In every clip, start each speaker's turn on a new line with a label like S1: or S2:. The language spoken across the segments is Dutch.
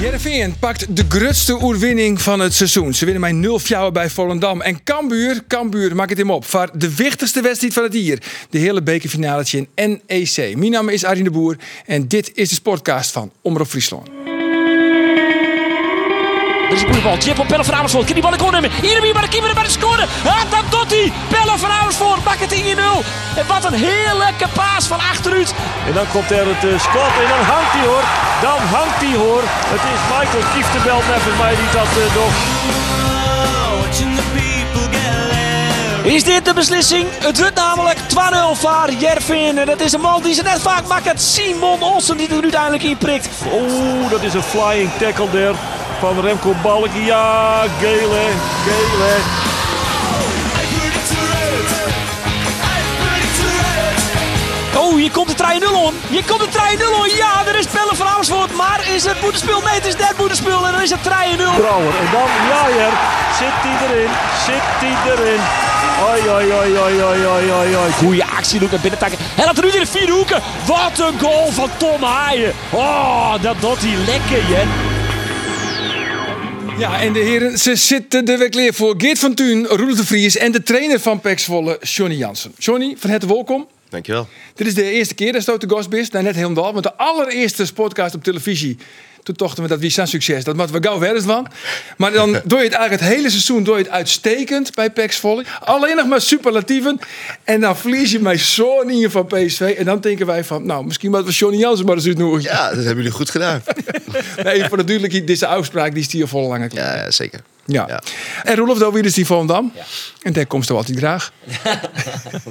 S1: Heerenveen pakt de grootste oerwinning van het seizoen. Ze winnen mij 0-4 bij Volendam. En Cambuur, Cambuur, maak het hem op. Voor de wichtigste wedstrijd van het jaar. De hele bekerfinaletje in NEC. Mijn naam is Arjen de Boer. En dit is de sportcast van Omroep Friesland.
S2: Dat is een goede bal. Jip op Pelle van Amersfoort. Kan die bal in corner nemen? Hier weer bij de keeper bij de scoren. Ah, dat doet hij. Pelle van Amersfoort. Maakt het 1-0. En wat een heerlijke paas van achteruit.
S3: En dan komt er het eh, schot en dan hangt hij hoor. Dan hangt hij hoor. Het is Michael Kieftenbelt net voor mij die dat eh, nog.
S2: Is dit de beslissing? Het wordt namelijk 2-0 voor Jervin. En dat is een man die ze net vaak maakt. Simon Olsen die er uiteindelijk in prikt.
S3: Oeh, dat is een flying tackle daar van Remco Balk. Ja, Gele, Gele.
S2: Oh, hier komt de 3-0 om. Hier komt de 3-0 om. Ja, er is Pelle van Amersfoort. Maar is het boetespul? Nee, het is net boetespul. En dan is het 3-0.
S3: Brouwer. En dan Jair. Zit hij erin? Zit hij erin? Oi, oi, oi, oi, oi, oi, oi, oi.
S2: Goeie actie, Luca Binnentakken. Hij laat Ruud in de vier hoeken. Wat een goal van Tom Haaien. Oh, dat doet hij lekker, Jen.
S1: Ja, en de heren, ze zitten er weer klaar voor. Geert van Tuin, Roel de Vries en de trainer van PEC Zwolle, Johnny Jansen. Johnny, van harte welkom.
S4: Dankjewel.
S1: Dit is de eerste keer dat je de gast bent. Nou, net helemaal, want de allereerste podcast op televisie. Toen dachten we dat wie zijn succes. Dat moeten we gauw werdens van. Maar dan doe je het eigenlijk het hele seizoen doe je het uitstekend bij Pax Volley. Alleen nog maar superlatieven. En dan verlies je mij zo in je van PSV. En dan denken wij van, nou, misschien moeten we Johnny Jansen maar eens uitnodigen.
S4: Ja, dat hebben jullie goed gedaan.
S1: Nee, voor natuurlijk, dit is de uitspraak, die is hier vol lange klaar.
S4: Ja, zeker.
S1: Ja.
S4: ja.
S1: En Roelof, daar weer is die van Dam. En daar komt er altijd graag.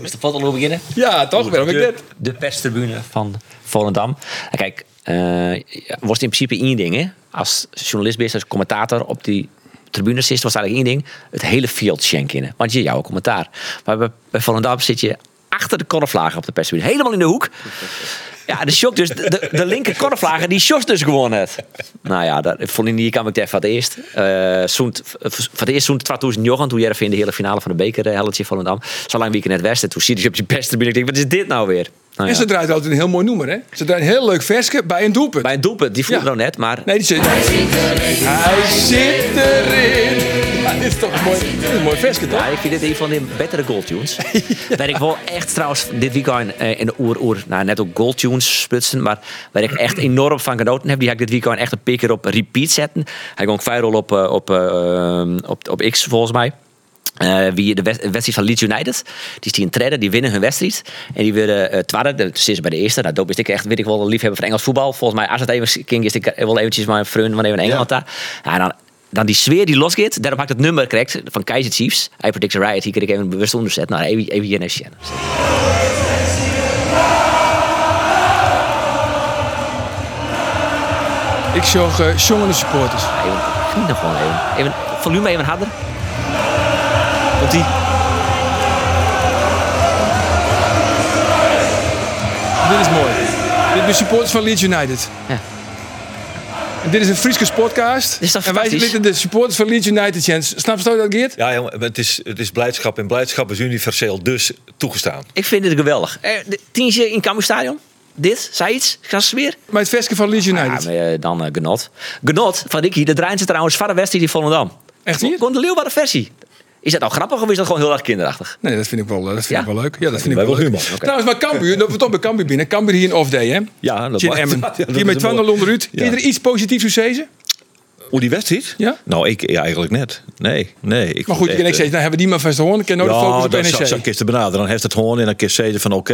S5: Is de foto al beginnen?
S1: Ja, toch? Waarom ik dit?
S5: De perstribune van Volendam. En Kijk, eh was het in principe één ding. Hè? Als journalist bent, als commentator op die tribune zit, was eigenlijk één ding. Het hele field schenken in. Want je jouw commentaar. Maar bij, bij Volendam zit je achter de korflagen op de perstribune. Helemaal in de hoek. Ja, de shock dus. De, de linker korflager die Sjors dus gewonnen heeft. Nou ja, dat, voor die kan ik daar van het eerst. Eh, zoent- v- Voor het eerst zo'n 2009, toen Jervin in de hele finale van de beker eh, helletje Volendam. Zolang weekend net westen. Toen zie je dus op je perstribune. Ik denk, wat is dit nou weer? Nou
S1: En
S5: ja.
S1: ze draait altijd een heel mooi nummer, hè? Ze draait een heel leuk versje bij een doelpunt.
S5: Bij een doelpunt, die voelde
S1: Ja.
S5: nog net, maar...
S1: Nee, die zit Hij zit erin. Hij zit erin. Ja, dit is toch een mooi, dit is een mooi versje,
S5: Ja,
S1: toch?
S5: ik vind dit een van de betere goaltunes. Waar ik wel echt trouwens dit weekend eh, in de oer-oer, nou net ook goaltunes splitsen, maar waar ik echt enorm van genoten heb, die ga ik dit weekend echt een paar keer op repeat zetten. Hij ging ook viral op, eh, op, eh, op, op X volgens mij. Eh, wie de wed- wedstrijd van Leeds United. Die is die in trainer, die winnen hun wedstrijd. En die willen eh twaalfde, dat is bij de eerste. Nou, doop is ik echt, weet ik wel, een liefhebber van Engels voetbal. Volgens mij, als het even ging, is ik wel eventjes mijn vriend van even in Engeland daar. Ja, en dan, dan die sfeer die losgeet, daarop had ik het nummer correct van Keizer Chiefs. I predict a riot, hier kreeg ik even bewust onderzet. Nou, even, even hier naar Shannon.
S1: Ik zag eh, jongende supporters.
S5: Even, geniet nog gewoon even. even. Volume even harder. Komt die.
S1: Dit is mooi. Dit zijn supporters van Leeds United.
S5: Ja.
S1: En dit is een Friese podcast.
S5: Is dat
S1: en wij
S5: fantastisch?
S1: zitten de supporters van Leeds United, Jens. Snap je dat, Geert?
S6: Ja, jongen, maar het is, het is blijdschap en blijdschap is universeel, dus toegestaan.
S5: Ik vind dit geweldig. Eh, de- Tientje in Cambuur Stadion. Dit, zei iets, gas weer.
S1: Maar het versje van Leeds
S5: Ja,
S1: United.
S5: maar, eh, dan eh, Genot. Genot van Dikkie, de draaien ze trouwens van de wedstrijd in Volendam.
S1: Echt hier?
S5: Gewoon de leeuwbare versie. Is dat nou grappig of is dat gewoon heel erg kinderachtig?
S1: Nee, dat vind ik wel, eh, dat vind
S5: Ja?
S1: ik wel leuk. Ja, dat vind ik
S6: Wij
S1: wel
S6: wel
S1: leuk.
S6: humor.
S1: Trouwens, maar Cambuur, dat we toch bij Cambuur binnen. Cambuur hier een off-day, hè?
S6: Ja, dat
S1: Jim
S6: maakt-
S1: Emmen.
S6: Ja, dat
S1: Hier
S6: is
S1: met
S6: een
S1: 2-0 onderuit.
S6: Ja.
S1: Kun je er iets positiefs over zeggen?
S6: Hoe die wedstrijd?
S1: Ja.
S6: Nou, ik ja, eigenlijk net. Nee, nee. Ik
S1: Maar
S6: vond
S1: goed, ik
S6: echt, eh,
S1: zei, nou hebben we die maar vast horen. Ik kan nooit
S6: ja,
S1: focus op E
S6: dat
S1: NEC.
S6: zou- zou ik eens te benaderen. Dan heeft het gewoon en dan kun je zeggen van oké,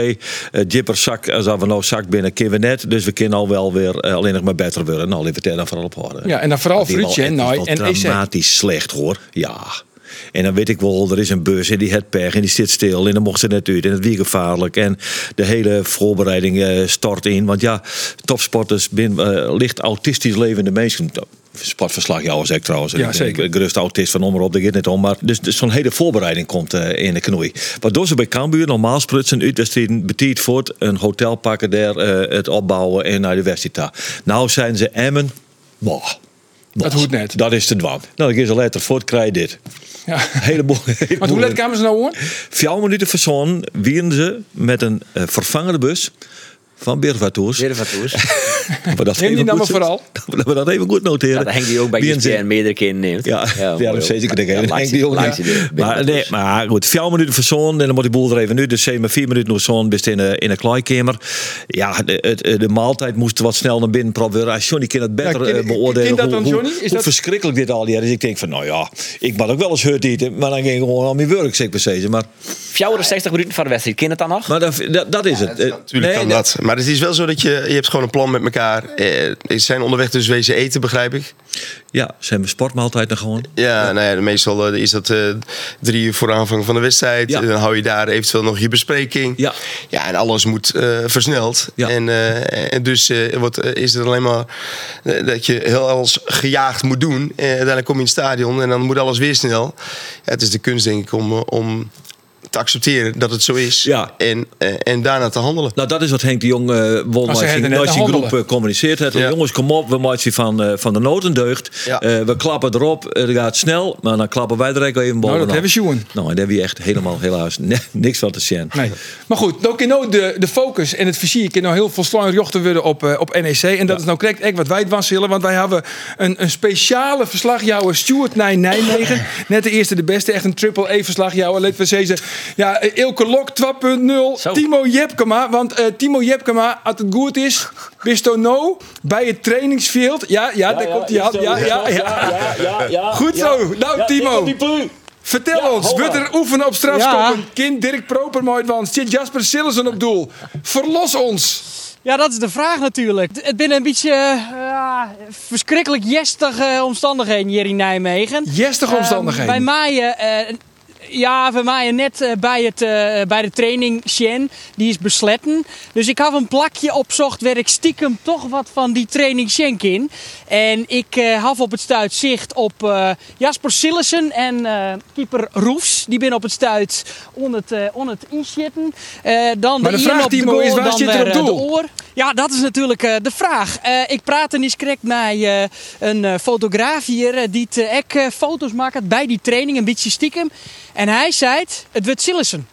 S6: eh, Jipper zak, als we nou zak binnen, kunnen we net. Dus we kunnen al wel weer eh, alleen nog maar beter worden. Nou, laten we daar dan vooral op houden.
S1: Ja, en dan vooral
S6: Want die
S1: Fruitje,
S6: bal, het
S1: hè,
S6: is
S1: nou,
S6: wel
S1: en EC.
S6: dramatisch slecht hoor, ja. En dan weet ik wel, er is een bus en die het pech en die zit stil en dan mocht ze net uit en het weer gevaarlijk. En de hele voorbereiding eh, stort in, want ja, topsporters zijn eh, licht autistisch levende mensen. sportverslagjouwers ook trouwens. En
S1: Ja,
S6: ik denk,
S1: zeker.
S6: Ik gerust autist van omroep, dat gaat niet om. Maar dus, dus zo'n hele voorbereiding komt eh, in de knoei. Wat doen ze bij Cambuur? Normaal sprutsen uitwedstrijden betiet voort. Een hotel pakken daar, eh, het opbouwen en naar de wedstrijd. Nou zijn ze Emmen. Boah.
S1: Dat hoeft net.
S6: Dat is te dwang. Nou, ik is al letter voort, krijg je dit.
S1: Ja.
S6: Heleboel.
S1: Want hoe laat kwamen ze nou hoor?
S6: Vier minuten voor zon wierden ze met een eh, vervangende bus van Birvatours.
S5: Weer van Toes.
S6: Maar dat
S1: Neem die
S6: even
S1: nou
S6: goed-
S1: maar vooral.
S6: Dat we dat even goed noteren.
S5: Ja, dat hangt die ook bij E
S6: Wie een
S5: ESPN
S6: zin-
S5: meerdere keren neemt.
S6: Ja, ja,
S5: mooi
S6: daarom
S5: ook.
S6: steeds ik denk,
S5: Ja,
S6: dat
S5: laat
S6: hangt
S5: ze-
S6: die ook.
S5: laat
S6: Ja.
S5: ze de-
S6: Maar, nee,
S5: dus.
S6: maar goed, vier minuten voor zon en dan moet die boel er even nu. Dus zeg maar vier minuten nog zon, best in de, in de kleikamer. Ja, de, het- eh, de maaltijd moest wat snel naar binnen proberen. Ah, Johnny kan het beter
S1: ken-
S6: eh, beoordelen
S1: ken dat
S6: hoe,
S1: dan, Johnny? Is
S6: hoe, hoe
S1: dat-
S6: verschrikkelijk dit al jaar is. Ik denk van, nou ja, ik mag ook wel eens hurt eten. Maar dan ging ik gewoon aan mijn werk, zeg maar steeds. Maar,
S5: 64 minuten van de wedstrijd, ken het dan nog?
S6: maar dat, dat, dat is het. Eh,
S7: Natuurlijk
S6: nee,
S7: kan
S6: dat-
S7: dat. Maar het is wel zo dat je, je hebt gewoon een plan met elkaar. Eh, ze zijn onderweg dus wezen eten, begrijp ik.
S6: Ja, zijn we sportmaaltijd nog gewoon?
S7: Ja, Nou ja, meestal eh, is dat eh, drie uur voor aanvang van de wedstrijd.
S6: Ja.
S7: En dan hou je daar eventueel nog je bespreking.
S6: Ja.
S7: ja en alles moet eh, versneld.
S6: Ja.
S7: En, eh, en dus eh, wordt, eh, is het alleen maar eh, dat je heel alles gejaagd moet doen. En uiteindelijk kom je in het stadion en dan moet alles weer snel. Ja, het is de kunst, denk ik, om, eh, om te accepteren dat het zo is.
S6: Ja.
S7: En, eh, en daarna te handelen.
S6: Nou, dat is wat Henk de Jong eh won
S1: ze hebben net
S6: nooit zijn
S1: handelen.
S6: groep eh, communiceert. Het,
S7: Ja.
S6: Jongens, kom op, we maken van, eh, van de noten deugd.
S7: Ja.
S6: Eh, we klappen erop, het gaat snel, maar dan klappen wij er ook even bovenop.
S1: dat hebben ze, jongen.
S6: Nou, en daar hebben we echt helemaal helaas ne- niks van te zien.
S1: Nee. Maar goed, dan kan nou de, de focus en het vizier kan nou heel volslaan jochten worden op, eh, op NEC. En dat is nou correct echt wat wij het wanselen. Want wij hebben een, een speciale verslagjouwer, Stuart Nij Nijmegen. Net de eerste, de beste. Echt een triple-E verslagjouwer. Laten we zeggen, ja, eh, Ilke Lok 2.0.
S5: Zo.
S1: Timo Jepkema. Want eh, Timo Jepkema, als het goed is, wist nou bij het trainingsveld. Ja, ja, daar komt hij aan. Ja, ja, ja.
S3: ja, ja, ja.
S1: Goed
S3: ja.
S1: zo. Nou,
S3: Ja,
S1: Timo.
S3: ik op die plu.
S1: Vertel
S3: Ja,
S1: ons,
S3: hola.
S1: wordt er oefenen op strafskoppen? Kind Dirk Proper mooi want zit Jasper Sillessen op doel? Verlos ons!
S8: Ja, dat is de vraag natuurlijk. Het- Het binnen een beetje eh, ja, verschrikkelijk jestige omstandigheden hier in Nijmegen.
S1: Jestige omstandigheden.
S8: Ehm, bij mij, eh, ja, bij mij net eh, bij, het, eh, bij de training Shen, die is besletten. Dus ik had een plakje opzocht waar ik stiekem toch wat van die training Shen in. En ik eh had op het stuit zicht op eh, Jasper Sillessen en eh, keeper Roefs. Die binnen op het stuit onder het, eh, onder het i zitten. Eh, dan
S1: Maar de
S8: Ian
S1: vraag,
S8: op de
S1: Timo,
S8: goal,
S1: is waar
S8: dan
S1: zit er
S8: weer,
S1: op
S8: eh, de
S1: doel?
S8: oor. Ja, dat is natuurlijk eh, de vraag. Eh, ik praat er niet correct met eh, een eh, fotograaf hier eh, die te ek eh, foto's maakt bij die training, een beetje stiekem. En hij zei, het, het wordt Sillessen.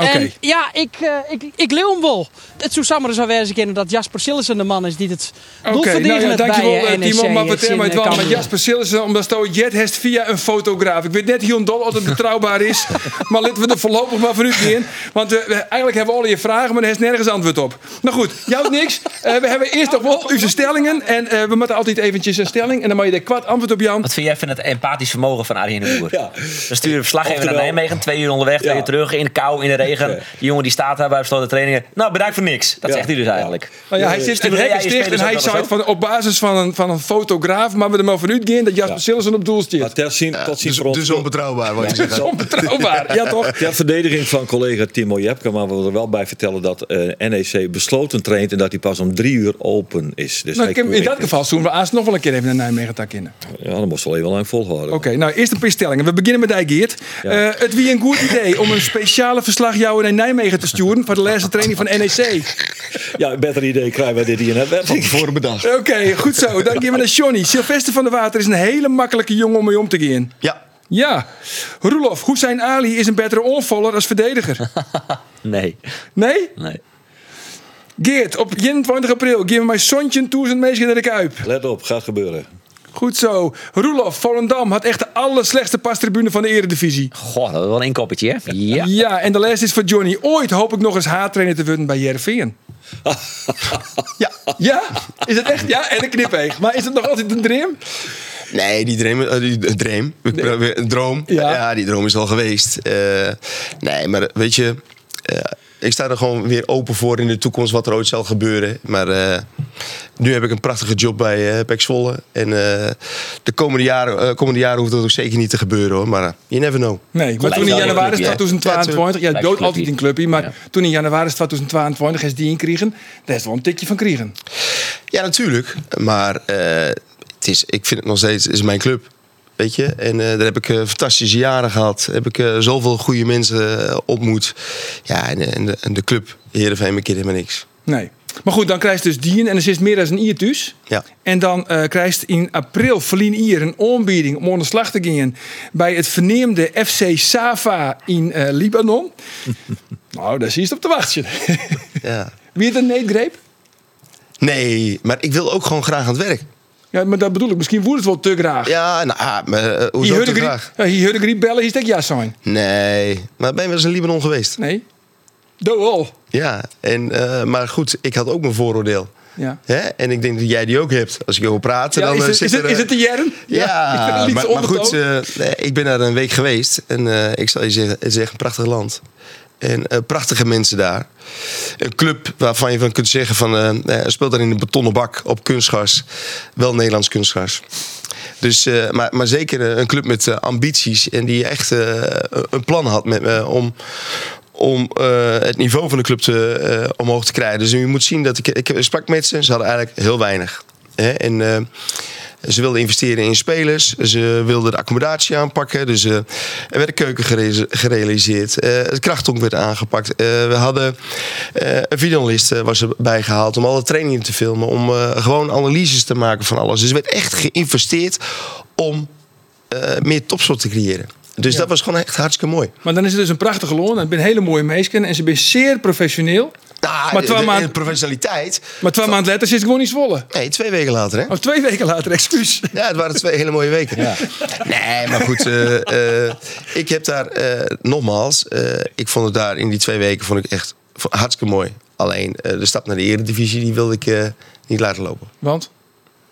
S1: Oké.
S8: En ja, ik, eh ik, ik leeuw hem wel. Het zou samen zo wezen kunnen dat Jasper Sillessen de man is die het doel
S1: Oké, nou ja,
S8: verdedigend
S1: dankjewel
S8: bij
S1: eh,
S8: eh, NEC
S1: Timo. Maar
S8: is
S1: vertel
S8: in,
S1: mij het
S8: eh,
S1: wel met
S8: Cambuur.
S1: Jasper Sillessen, omdat Stoot Jet heeft via een fotograaf. Ik weet net heel dol of het betrouwbaar is, maar laten we er voorlopig maar vanuit in. Want eh, we- eigenlijk hebben we al je vragen, maar er is nergens antwoord op. Nou goed, jou niks. Eh, we hebben eerst nog wel onze stellingen. En eh, we moeten altijd eventjes een stelling. En dan mag je er kwart antwoord op, Jan.
S5: Wat vind jij van het empathisch vermogen van Arjen de Boer?
S6: Ja.
S5: Dan sturen we verslag even naar
S6: Oftewel-
S5: Nijmegen, twee uur onderweg, twee
S6: Ja.
S5: uur terug, in de kou, in de regen. Die jongen die staat daar bij besloten trainingen. Nou, bedankt voor niks. Dat
S6: Ja.
S5: zegt hij dus
S6: Ja.
S5: eigenlijk.
S1: Nou ja, hij zit in
S5: Stimuleer jij
S1: rekken
S5: je
S1: sticht en
S5: spelers
S1: hij
S5: ook wel
S1: zei
S5: eens
S1: van, op basis van een, van een fotograaf, maar we er maar vanuit gaan dat Jasper
S6: Ja.
S1: Sillessen op doel
S6: Maar
S1: stiert.
S6: ter zien, tot zien
S7: Dus,
S6: voor ons-
S7: dus onbetrouwbaar, wat je zegt.
S1: Dat is onbetrouwbaar. Nou, Ja, toch?
S6: Ter verdediging van collega Timo Jepke, maar we willen er wel bij vertellen dat eh, NEC besloten traint en dat hij pas om drie uur open is. Dus
S1: Nou,
S6: hij-
S1: ik heb- in dat geval zoen we Aas nog wel een keer even naar Nijmegen tak in. Oké,
S6: Ja, dan moest wel even lang volhouden.
S1: nou eerst een paar stellingen. We beginnen met Dijgeert.
S6: Ja.
S1: Eh, het wie een goed idee om een speciale verslagjouwer naar Nijmegen te sturen voor de laatste training van E NEC.
S6: Ja, een beter idee krijgen wij dit hier net weg.
S7: Voor bedacht.
S1: Oké, goed zo. Dan gaan we naar Johnny. Sylvester van der Water is een hele makkelijke jongen om mee om te gaan.
S7: Ja,
S1: Ja. Roelof, Hussein Ali is een betere onvoller als verdediger.
S5: af? Nee,
S1: Nee?
S5: nee.
S1: Geert, op 21 april geven mij Sontje 1000 mensen naar de Kuip.
S6: Let op, gaat gebeuren.
S1: Goed zo. Roelof, Volendam had echt de allerslechste pastribune van de eredivisie.
S5: Goh, dat was wel een inkoppertje, hè? Ja.
S1: Ja, en de les is voor Johnny. Ooit hoop ik nog eens haattrainer te worden bij Jervin. ja. ja, is het echt? Ja, en een knipeeg. Maar is het nog altijd een dream?
S7: Nee, die dream, eh, die eh, dream. Ik probeer- een droom.
S1: Ja.
S7: Ja. die droom is al geweest. Eh, nee, maar weet je, eh, ik sta er gewoon weer open voor in de toekomst wat er ooit zal gebeuren. Maar eh, nu heb ik een prachtige job bij eh Pek Zwolle. En eh, de komende jaren, eh, komende jaren hoeft dat ook zeker niet te gebeuren hoor. Maar eh, you never know.
S1: Nee, maar
S5: Lijkt
S1: toen in
S5: wel een
S1: januari
S5: clubje, hè?
S1: 2022, ja,
S5: Lijkt
S1: dood
S5: een
S1: altijd in clubje, maar toen in januari 2022 is die in kriegen, daar is wel een tikje van kriegen.
S7: Ja, natuurlijk. Maar eh, het is, ik vind het nog steeds, het is mijn club. Weet je, en eh, daar heb ik eh, fantastische jaren gehad. Heb ik eh, zoveel goede mensen eh, ontmoet. Ja, en, en, de, en de club, Heerenveen, mijn kinderen, maar niks.
S1: Nee. Maar goed, dan krijgt dus Dien en er zit meer dan een iertus.
S7: Ja.
S1: En dan eh krijgt in april Verlien Ier een aanbieding om onder de slag te gaan bij het verneemde FC Safa in eh, Libanon. nou, daar zie je het op te wachten.
S7: ja.
S1: Wie het een neetgreep?
S7: Nee, maar ik wil ook gewoon graag aan het werk.
S1: Ja, maar dat bedoel ik. Misschien woedt het wel te graag.
S7: Ja, nou, ah, maar, eh,
S1: Hier
S7: hoezo
S1: hoorde
S7: te
S1: ik
S7: graag?
S1: niet- ja, hier hoorde ik niet bellen, hier stek ja zijn.
S7: Nee, maar ben je wel eens in Libanon geweest?
S1: Nee. Doel.
S7: Ja, en, eh, maar goed, ik had ook mijn vooroordeel.
S1: Ja.
S7: Hè? En ik denk dat jij die ook hebt. Als ik over praat,
S1: Ja,
S7: dan
S1: is,
S7: eh,
S1: het,
S7: zit
S1: is, het,
S7: er,
S1: is het de jern?
S7: Ja,
S1: ik vind het
S7: maar,
S1: liedje
S7: maar
S1: ondertoon.
S7: goed, eh, nee, ik ben daar een week geweest. En eh, ik zal je zeggen, het is echt een prachtig land. En eh, prachtige mensen daar. Een club waarvan je van kunt zeggen van... eh, eh, speelt daar in een betonnen bak op kunstgas. Wel Nederlands kunstgas. Dus, eh, maar, maar zeker eh, een club met eh, ambities. En die echt eh, een- een plan had met, me om, om eh, het niveau van de club te, eh, omhoog te krijgen. Dus je moet zien dat ik, ik sprak met ze. Ze hadden eigenlijk heel weinig. Hè? En eh, ze wilden investeren in spelers. Ze wilden de accommodatie aanpakken. Dus eh, er werd een keuken gerese- gerealiseerd. Eh, het krachtonk werd aangepakt. Eh, we hadden eh, een videoanalist eh, was erbij gehaald om alle trainingen te filmen. Om eh, gewoon analyses te maken van alles. Dus er werd echt geïnvesteerd om eh, meer topsport te creëren. Dus dat was gewoon echt hartstikke mooi.
S1: Maar dan is het dus een prachtige loon. Het zijn hele mooie meisjes en ze zijn zeer professioneel.
S7: Nou,
S1: Maar
S7: maar
S1: terwijl maar-
S7: professionaliteit.
S1: Maar twee maanden later zit ik gewoon niet zwollen.
S7: Nee, twee weken later, hè?
S1: Of twee weken later, excuus.
S7: Ja, het waren twee hele mooie weken. Nee, maar goed. eh, eh, ik heb daar, eh, nogmaals, eh, ik vond het daar in die twee weken vond ik echt v- hartstikke mooi. Alleen eh, de stap naar de eredivisie, die wilde ik eh, niet laten lopen.
S1: Want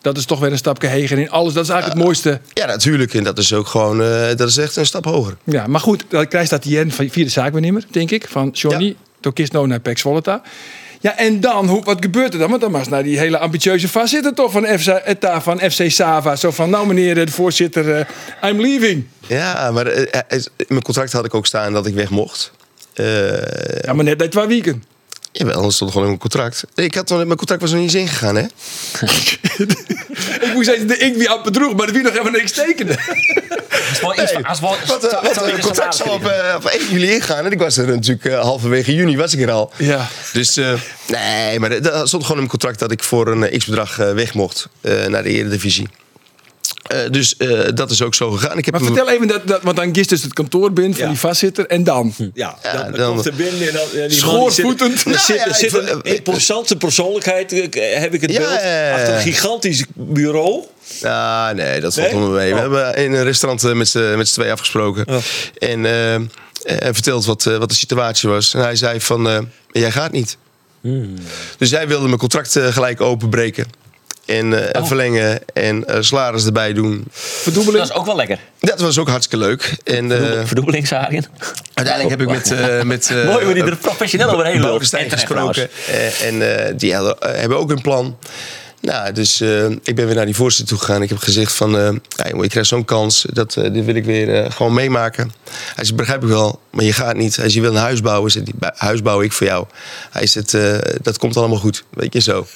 S1: dat is toch weer een stapje heger in alles. Dat is eigenlijk het mooiste.
S7: Ja, natuurlijk. En dat is ook gewoon, eh, dat is echt een stap hoger.
S1: Ja, maar goed, dan krijg je dat Jen van vierde zaakbenemer, denk ik. Van Johnny,
S7: Ja.
S1: door Kisno naar Pex Volta. Ja, en dan, hoe, wat gebeurt er dan? Want dan was naar die hele ambitieuze vastzitten toch van FC, eh, ta- van FC Sava. Zo van, nou meneer de voorzitter, eh, I'm leaving.
S7: Ja, maar eh, eh, in mijn contract had ik ook staan dat ik weg mocht. Eh
S1: Ja, maar net bij twee weken.
S7: jawel, dat stond gewoon in mijn contract. Ik had, nog- mijn contract was nog niet eens ingegaan, hè?
S1: Ik moest even de ik wie aan bedroeg, maar de wie nog helemaal niks tekende.
S5: Als wel iets- als wel-
S7: Wat, eh, wat, eh,
S5: zou
S7: het
S5: je
S7: contract
S5: salaris
S7: zal op,
S5: krijgen.
S7: eh, op 1 juli ingaan. En ik was er natuurlijk eh, halverwege juni was ik er al.
S1: Ja.
S7: Dus eh, nee, maar dat stond gewoon in mijn contract dat ik voor een eh, x-bedrag eh, weg mocht eh, naar de Eredivisie. Eh dus eh, dat is ook zo gegaan. Ik heb
S1: Maar
S7: een-
S1: vertel even, dat, dat, want dan gist dus het kantoor binnen van
S6: Ja.
S1: die vastzitter. En dan?
S6: Ja,
S7: Ja,
S6: dan,
S7: dan-
S6: komt er binnen en dan, ja, die man die zit-
S1: Schoorvoetend.
S6: Er zit,
S7: Nou ja,
S6: er zit
S7: ik-
S6: een imposante persoonlijkheid, eh, heb ik het
S7: Ja,
S6: beeld,
S7: ja, ja.
S6: achter een gigantisch bureau.
S7: Ah, nee, dat valt
S6: Nee?
S7: onder me mee. We
S6: Oh.
S7: hebben in een restaurant eh, met z'n met z'n tweeën afgesproken. En eh, eh, verteld wat, eh, wat de situatie was. En hij zei van, eh, jij gaat niet.
S5: Hmm.
S7: Dus hij wilde mijn contract eh, gelijk openbreken. En eh,
S5: Oh.
S7: verlengen en eh salaris erbij doen. eh,
S5: Dat is ook wel lekker.
S7: Dat was ook hartstikke leuk. En eh,
S5: Verdubbeling, Sarien.
S7: uiteindelijk heb ik met... eh met eh,
S5: Mooi hoe die er professioneel overheen loopt.
S7: Bolkestein
S5: En terecht
S7: gesproken. Eh, en eh, die hadden- eh, hebben ook een plan. Nou, dus eh, ik ben weer naar die voorzitter toe gegaan. Ik heb gezegd van, eh, ja, jongen, je krijgt zo'n kans. Dat, eh, dit wil ik weer eh, gewoon meemaken. Hij zei, begrijp ik wel, maar je gaat niet. Als je wil een huis bouwen, zegt hij, "Bij- huis bouw ik voor jou. Hij zegt, eh, dat komt allemaal goed. Weet je zo.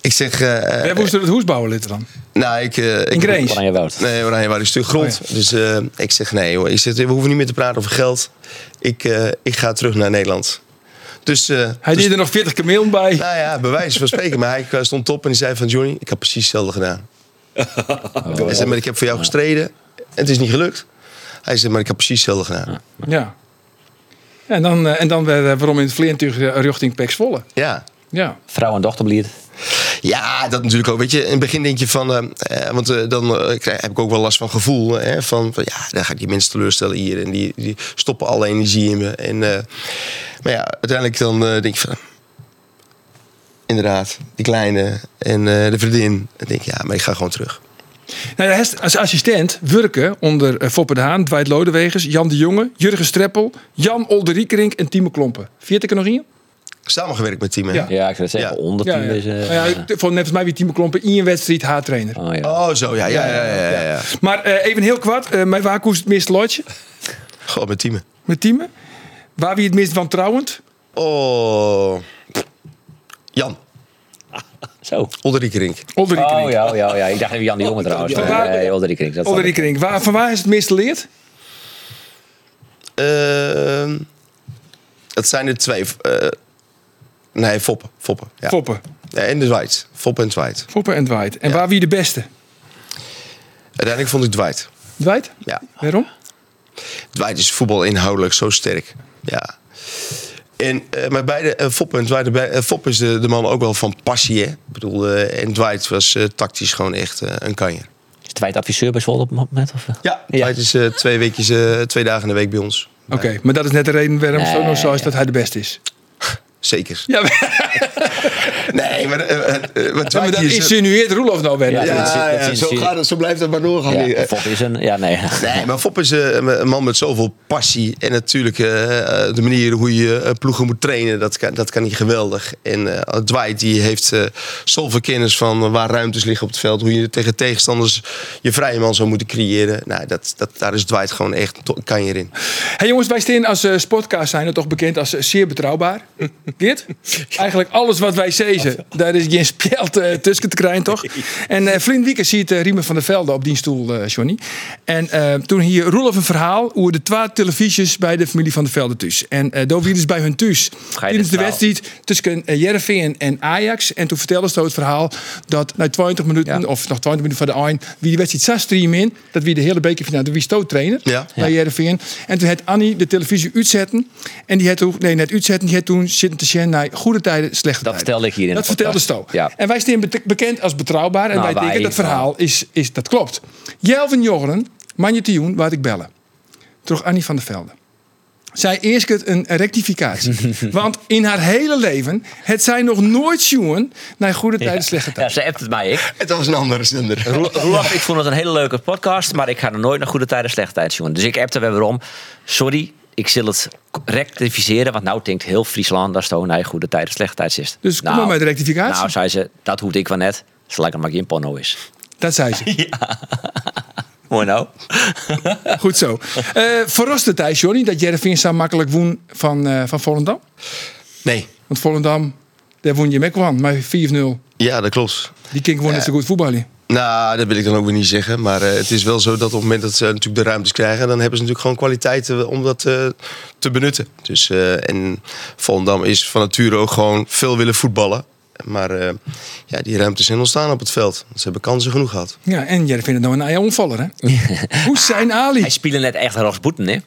S7: Ik zeg, eh,
S1: Wij moesten het hoes bouwen, lid dan.
S7: nou, ik... eh,
S1: In
S7: ik
S1: Grains.
S5: Oranje Woud.
S7: Nee, Oranje waren een stuk grond.
S1: Oh
S7: Dus eh, ik zeg nee, hoor. Ik zeg, we hoeven niet meer te praten over geld. Ik, eh, ik ga terug naar Nederland. Dus, eh,
S1: Hij
S7: dus-
S1: deed er nog 40 kameel bij.
S7: nou ja, bij wijze van spreken. Maar hij eh, stond op en die zei van Johnny, ik heb precies hetzelfde gedaan. Hij zei, maar ik heb voor jou gestreden en het is niet gelukt. Hij zei, maar ik heb precies hetzelfde gedaan.
S1: Ja. Ja, En dan, eh, en dan weer, eh, waarom in het vleentuig eh, richting Pek Zwolle.
S7: Ja.
S1: Ja.
S5: Vrouw en dochter bliert.
S7: Ja, dat natuurlijk ook. Weet je, in het begin denk je van, eh, eh, want eh, dan eh, krijg, heb ik ook wel last van gevoel. Hè, van, van, ja, dan ga ik die mensen teleurstellen hier. En die, die stoppen alle energie in me. En, eh, maar ja, uiteindelijk dan eh, denk je van, inderdaad, die kleine en eh, de vriendin. Dan denk ik, ja, maar ik ga gewoon terug.
S1: Nou, hij is als assistent werken onder eh, Foppe de Haan, Dwight Lodewegers, Jan de Jonge, Jurgen Streppel, Jan Olderiekerink en Timo Klompen. Viert ik er nog in?
S7: Samengewerkt met team. hè?
S1: Ja.
S5: Ja, ik zou zeggen,
S7: Ja.
S5: onder
S1: Ja, ja.
S5: tien is... eh,
S1: Nou ja, t- voor net als mij wie Timo Klompen in een wedstrijd H-trainer.
S5: Oh ja.
S7: Oh, zo, ja, ja, ja, ja. ja, ja.
S1: Maar eh, even heel kwart, eh, mijn waar koest het meest lotje
S7: Gewoon met team.
S1: met Timo? Waar wie het meest wantrouwend?
S7: Oh, Jan.
S5: Zo.
S7: Olderik Rink.
S1: Olderik
S5: Oh
S1: Rink.
S5: ja, oh, ja, oh, ja. Ik dacht even Jan de Jonge trouwens.
S1: Ja.
S5: maar, eh, Olderik Rink. dat is
S1: Olderik Rink. Waar, van waar is het meest geleerd?
S7: Ehm, dat zijn er twee. eh, nee, Foppen. Foppen. Ja.
S1: Foppen.
S7: Ja, en de Dwight. Foppen en Dwight.
S1: Foppen en Dwight. En waar wie de beste?
S7: Uiteindelijk vond ik Dwight.
S1: Dwight?
S7: Ja.
S1: Waarom?
S7: Dwight is voetbal inhoudelijk zo sterk. Ja. En, eh, maar beide, eh, Fop en Dwight, eh, Fop is de, de man ook wel van passie. Hè? Ik bedoel, eh, en Dwight was eh, tactisch gewoon echt eh, een kanjer.
S5: Is Dwight adviseur bij Zwolle op het moment? Of? eh?
S7: Ja, Dwight is eh, twee, weekjes, eh, twee dagen in de week bij ons.
S1: Oké, maar dat is net de reden waarom zo
S5: Nee.
S1: nog zo is dat hij de beste is.
S7: Zeker.
S1: Ja, maar,
S7: Nee, maar, eh, eh, eh, maar
S1: maar
S7: Dwight
S1: dat
S7: is... eh,
S1: insinueert Roelof nou weer.
S5: Ja.
S7: ja,
S5: dat is- dat
S7: ja,
S5: is-
S7: zo, gaat het, zo blijft het maar doorgaan.
S5: Ja,
S7: Die, eh,
S5: Fop is een... Ja, nee.
S7: Nee, maar Fop is eh, een man met zoveel passie. En natuurlijk eh, eh, de manier hoe je eh, ploegen moet trainen, dat kan, dat kan hij geweldig. En eh, Dwight die heeft eh, zoveel kennis van waar ruimtes liggen op het veld. Hoe je tegen tegenstanders je vrije man zou moeten creëren. Nou, dat, dat, daar is Dwight gewoon echt to- kan je in.
S1: Hey jongens, wij staan als eh, sportcast zijn er toch bekend als eh, zeer betrouwbaar. Geert? Eigenlijk alles wat wij zezen, daar is geen speld eh, tussen te krijgen, toch? En eh vriend Wieken ziet eh, Riemen van der Velde op die stoel, eh, Johnny. En eh, toen hier Roelof een verhaal over de twee televisies bij de familie van der Velde thuis. En eh daar is bij hun thuis.
S5: Ga je
S1: Dit is
S5: dit
S1: de
S5: verhaal?
S1: wedstrijd tussen eh, Heerenveen en Ajax. En toen vertelde ze het verhaal dat na 20 minuten,
S5: Ja.
S1: of nog 20 minuten van de eind, wie die wedstrijd zag streamen in, dat wie de hele bekerfinale, wie stoot trainer
S7: Ja.
S1: bij Heerenveen. En toen had Annie de televisie uitzetten. En die had toen, nee, net uitzetten, die had toen zitten te zien naar goede tijden, slechte tijden.
S5: Dat vertelde ik hier in
S1: Dat
S5: de
S1: vertelde
S5: podcast.
S1: Sto.
S5: Ja.
S1: En wij staan bet- bekend als betrouwbaar. En
S5: Nou,
S1: wij denken
S5: wij-
S1: dat verhaal is, is, dat klopt. Jel van Jongeren, Manje Tioen, waar ik bellen. Terug Annie van der Velde. Zij eerst het een rectificatie. Want in haar hele leven het zij nog nooit jongen naar goede tijden, slechte
S5: Ja,
S1: tijden.
S5: ze appt het mij, ik.
S7: Het was een andere zender.
S5: Roel- Roelof, ik vond het een hele leuke podcast, maar ik ga er nooit naar goede tijden, slechte tijden, jongen. Dus ik appte er weer om. Sorry, ik zal het rectificeren, want nou denkt heel Friesland dat Sto naar goede tijden, slechte tijden is.
S1: Dus kom
S5: nou,
S1: maar met de rectificatie.
S5: Nou, zei ze, dat hoeft ik wel net, zolang het maar geen porno is.
S1: Dat zei ze.
S5: Mooi nou.
S1: Goed zo. Eh verraste tijd, Johnny, dat Jervin zo makkelijk woon van, eh, van Volendam?
S7: Nee.
S1: Want Volendam, daar woon je Mekwan, maar 4-0.
S7: Ja, dat klopt.
S1: Die kind gewoon net zo goed voetballen.
S7: Nou, dat wil ik dan ook weer niet zeggen. Maar eh, het is wel zo dat op het moment dat ze natuurlijk de ruimtes krijgen, dan hebben ze natuurlijk gewoon kwaliteiten om dat eh, te benutten. Dus, eh, en Volendam is van nature ook gewoon veel willen voetballen. Maar eh, ja, die ruimtes zijn ontstaan op het veld. Ze hebben kansen genoeg gehad.
S1: Ja, en Jervin het nou een eigen onvaller, hè? Hoe zijn Ali?
S5: Hij speelde net echt als boeten, hè?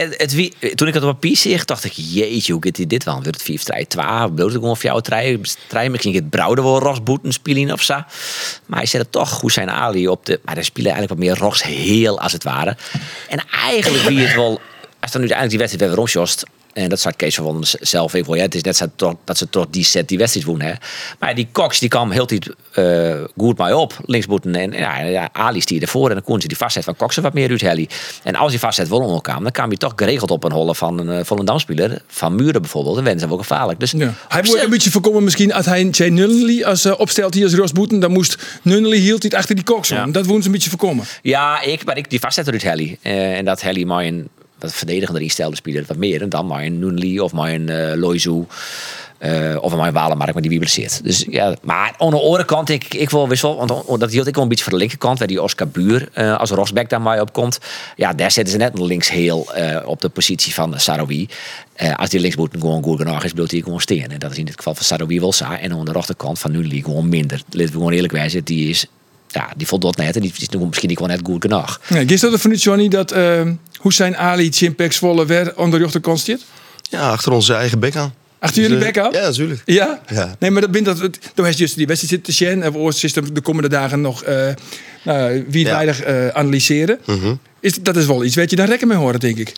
S5: Het, het wie- toen ik het op papier zag, dacht ik, jeetje, hoe gaat hij dit wel? Wordt het 4 3 12 bloot ik gewoon voor jouw trein? Misschien gaat Brouwer wel rasboeten spelen of zo. Maar hij zette toch goed zijn Ali op de... Maar daar spelen eigenlijk wat meer Ross heel, als het ware. En eigenlijk wie het wel... Als dan nu uiteindelijk die wedstrijd weer rondjost... En dat zat Kees van Wonderen z- zelf even. voor. Ja, het is net zo toch- dat ze toch die set die wedstrijd wonen. Hè. Maar die Cox die kwam heel tijd eh, goed mij op. Linksboeten. En ja, ja, Ali stier ervoor. En dan kon ze die vastzet van Cox er wat meer uit Helly. En als die vastzet wel omhoog kwam. Dan kwam hij toch geregeld op een holle van een uh, Volendamspeler. Van Muren bijvoorbeeld. En werden ze hem ook gevaarlijk. Dus
S1: Ja. Hij
S5: op
S1: moet
S5: zich-
S1: een beetje voorkomen misschien als hij Jay Nunnally als eh, opstelt hier als Rosboeten. Dan moest Nunnally hield hij achter die koks om.
S5: Ja.
S1: Dat woont ze een beetje voorkomen.
S5: Ja, ik, maar ik, die vastzet uit Helly. Eh, en dat Helly maar een wat verdedigender instelde speler wat meer. En dan maar een Noenli of maar een eh Loizu. eh, of maar een Walemark, maar die wie blesseert. Dus, ja, maar aan de andere kant, ik, ik wil wissel. Want on- dat hield ik wel een beetje voor de linkerkant. Waar die Oscar Buur eh, als Rosbeck daar maar op komt. Ja, daar zetten ze net links heel eh, op de positie van Saroui. Eh, als die linksboot gewoon goed genoeg is, bloot hij gewoon steen. En dat is in het geval van Saroui wel saai. En aan de rechterkant van Noenli gewoon minder. Laten we gewoon eerlijk wijzen. Die is ja, die voldoet net en die is nog misschien niet gewoon net goed genoeg.
S1: Nee, gisteren vanuit Johnny dat eh Hussein Ali, Chimpek, Zwolle, weer onder de rechterkant zit.
S7: Ja, achter onze eigen bek aan.
S1: Achter jullie
S7: Dus, eh,
S1: bek aan?
S7: Ja, natuurlijk.
S1: Ja?
S7: Ja.
S1: Nee, maar dat bindt dat. het- Toen heeft juist die wedstrijd zitten te zien. En we ooit zitten de komende dagen nog eh nou, wie
S7: Ja. Mhm.
S1: weinig eh, analyseren. Is, dat is wel iets wat je dan rekken mee horen, denk ik.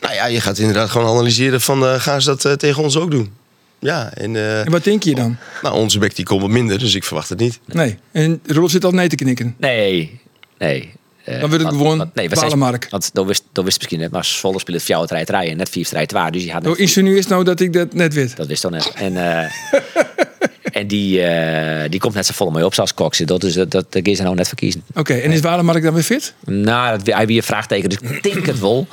S7: Nou ja, je gaat inderdaad gewoon analyseren van eh, gaan ze dat eh, tegen ons ook doen. Ja, en eh,
S1: En wat denk je dan?
S7: nou, onze bek die komt wat minder, dus ik verwacht het niet.
S1: Nee. En Rolf zit al nee te knikken.
S5: Nee, nee. eh,
S1: Dan wil ik
S5: want-
S1: gewoon
S5: want- we zijn-
S1: Walemark.
S5: Want dan wist, dan wist misschien net, maar Zwolle speelt het jouw rijt rijden. Net vier strijd waar, dus die had
S1: Nou,
S5: net,
S1: insinueert nou dat ik dat net weet.
S5: dat wist dan net. En, eh, en die, eh, die komt net zo vol mee op, zoals Cox. Dat, is, dat, dat dat gaan ze nou net verkiezen.
S1: Oké, en is Walemark dan weer fit?
S5: Nou, dat, hij weer een vraagteken, dus ik denk het wel.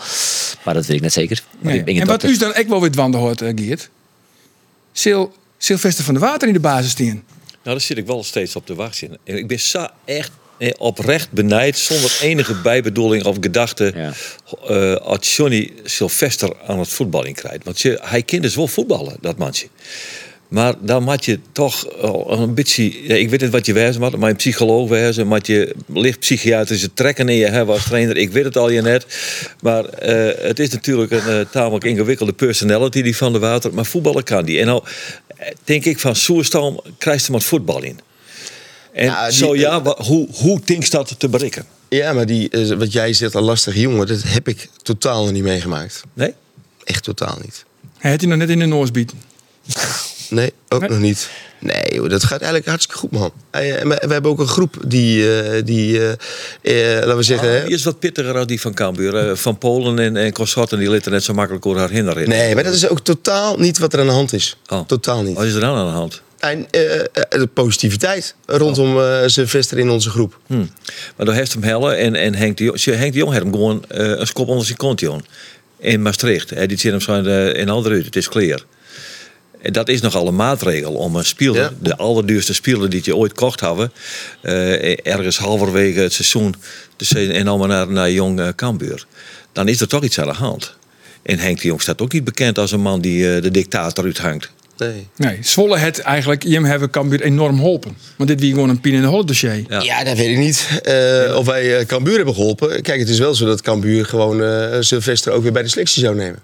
S5: Maar dat weet ik net zeker. Maar
S1: Nee.
S5: ik- ik-
S1: En wat
S5: dat-
S1: u dan ook wel weer dwanden hoort, eh, Geert. Sil, Sylvester van der Water in de basis staan.
S6: daar zit ik wel steeds op te wachten. En Ik ben sa echt eh, oprecht benijd, zonder enige bijbedoeling of gedachte,
S5: Ja.
S6: eh, als Johnny Sylvester aan het voetballen krijgt. Want je, hij kan dus wel voetballen, dat mansje. Maar dan moet je toch al een beetje, ja, ik weet niet wat je wijzen moet, maar een psycholoog wijzen, moet je licht psychiatrische trekken in je hebben als trainer. Ik weet het al je net. Maar eh, het is natuurlijk een eh, tamelijk ingewikkelde personality die van de water, maar voetballen kan die. En nou eh, denk ik van Soerstam krijgt er maar voetbal in. En
S7: Ja, Nou, die-
S6: zo ja, wa- hoe, hoe denkt dat te bereiken?
S7: Ja, maar die, eh, wat jij zegt, een lastige jongen, dat heb ik totaal nog niet meegemaakt.
S6: Nee?
S7: Echt totaal niet.
S1: Hij had hij nog net in de noos bied.
S7: Nee, ook nog niet. Nee, joh, dat gaat eigenlijk hartstikke goed, man. Hey, eh, maar We hebben ook een groep die, eh, die eh, eh, laten we zeggen... hè,
S6: Die is wat pittiger dan die van Cambuur. eh, Van Polen en, en consorten die litten net zo makkelijk door haar hinder in.
S7: Nee, maar dat is ook totaal niet wat er aan de hand is.
S6: Oh.
S7: Totaal niet.
S6: Wat is er dan aan de hand?
S7: En eh, eh, de positiviteit rondom eh Sylvester in onze groep.
S6: Hm. Maar door heeft hem helle en, en Henk de Jong. ze- Henk de Jong heeft hem gewoon eh, een schop onder zijn kont, Jon. In Maastricht. Hij die zit hem zo in, de- in andere uur. Het is clear. En dat is nogal een maatregel om een speler,
S7: Ja.
S6: de allerduurste speler die je ooit kocht hebben, eh, ergens halverwege het seizoen te zeggen en allemaal naar, naar jong eh, Cambuur. Dan is er toch iets aan de hand. En Henk de Jong staat ook niet bekend als een man die eh, de dictator uithangt.
S7: Nee.
S1: Nee, Zwolle het eigenlijk, Jim hebben Cambuur enorm geholpen. Want dit wie gewoon een pin in de holle dossier.
S7: Ja. dat weet ik niet. Eh, Of wij eh Cambuur hebben geholpen. Kijk, het is wel zo dat Cambuur gewoon eh Sylvester ook weer bij de selectie zou nemen.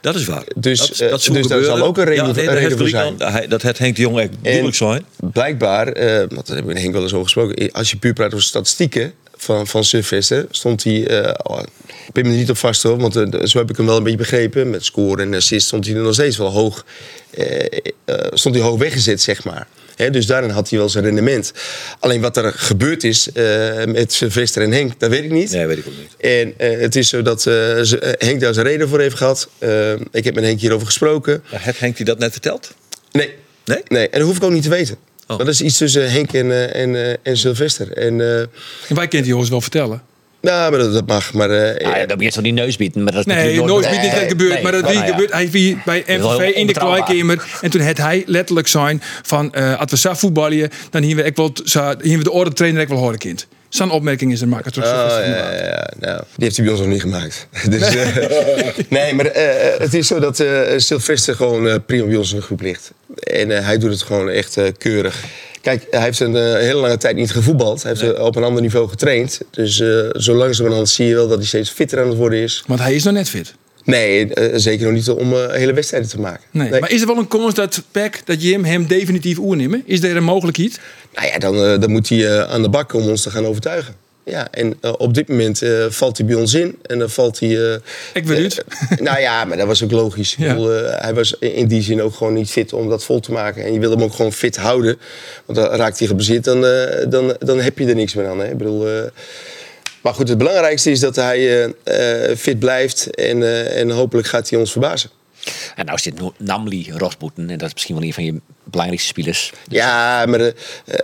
S6: Dat is waar.
S7: Dus,
S6: dat,
S7: eh,
S6: zou
S7: dus daar
S6: gebeuren.
S7: zal ook een reden-
S6: nee,
S7: een
S6: dat
S7: reden
S6: heeft
S7: voor
S6: Griekenland- hij- Dat het Henk de Jong echt moeilijk zijn.
S7: Blijkbaar, eh, want daar heb ik met Henk wel eens over gesproken. eh, Als je puur praat over statistieken van, van Sylvester, stond hij. eh, oh, ik ben me er niet op vast hoor, want eh, zo heb ik hem wel een beetje begrepen. Met scoren en assist stond hij er nog steeds wel hoog. eh, eh, stond hij hoog weggezet, zeg maar. Hè, dus daarin had hij wel zijn rendement. Alleen wat er gebeurd is eh, met Sylvester en Henk, dat weet ik niet.
S6: Nee, weet ik ook niet.
S7: En eh, het is zo dat eh, ze- eh, Henk daar zijn reden voor heeft gehad. Eh, ik heb met Henk hierover gesproken.
S6: Maar Nou, heeft Henk die dat net verteld?
S7: Nee.
S6: Nee?
S7: Nee, en dat hoef ik ook niet te weten.
S6: Oh.
S7: Want dat is iets tussen Henk en, eh, en, eh, en Sylvester. En, eh,
S1: En wij kent die jongens wel vertellen.
S7: nou, maar dat, dat mag. Maar, eh,
S5: Ah, ja, dat begint zo die neusbieten. Maar dat is
S1: Nee,
S5: natuurlijk
S1: nooit is niet net gebeurd.
S5: nee,
S1: maar dat
S5: nou
S1: wie
S5: ja.
S1: gebeurt, hij wie bij
S5: wel heel
S1: MVV in de
S5: onbetrouwbaar.
S1: kleikamer. En toen had hij letterlijk zijn van, eh als we zo voetballen, dan hier we, echt wel, zo- hier we de orde trainer ik wel horen kind. Zo'n opmerking is er maken. Terug,
S7: Oh, ja, ja, ja, nou, die heeft hij bij ons nog niet gemaakt. Dus, eh, nee, maar eh, eh, het is zo dat eh Sylvester gewoon eh, prima bij ons in de groep ligt. En eh, hij doet het gewoon echt eh, keurig. Kijk, hij heeft een eh, hele lange tijd niet gevoetbald. Hij heeft eh, op een ander niveau getraind. Dus eh zo langzamerhand zie je wel dat hij steeds fitter aan het worden is.
S1: Want hij is nog net fit.
S7: Nee, eh, zeker nog niet om eh, hele wedstrijden te maken.
S1: Nee. Maar is er wel een kans dat Peck, dat Jim hem definitief oernemen? Is er een mogelijkheid?
S7: Nou ja, dan, eh, dan moet hij eh, aan de bak om ons te gaan overtuigen. Ja, en eh, op dit moment eh, valt hij bij ons in. En dan valt hij... eh,
S1: Ik ben benieuwd.
S7: eh, nou ja, maar dat was ook logisch. Ik
S1: Ja.
S7: bedoel, eh, hij was in die zin ook gewoon niet fit om dat vol te maken. En je wil hem ook gewoon fit houden. Want dan raakt hij geblesseerd, dan, eh, dan, dan heb je er niks meer aan. Hè? Ik bedoel... eh, maar goed, het belangrijkste is dat hij eh, eh, fit blijft. En, eh, en hopelijk gaat hij ons verbazen.
S5: En nou zit Nu- Namli Rosboeten. En dat is misschien wel een van je belangrijkste spelers.
S6: Dus-
S7: Ja, maar eh,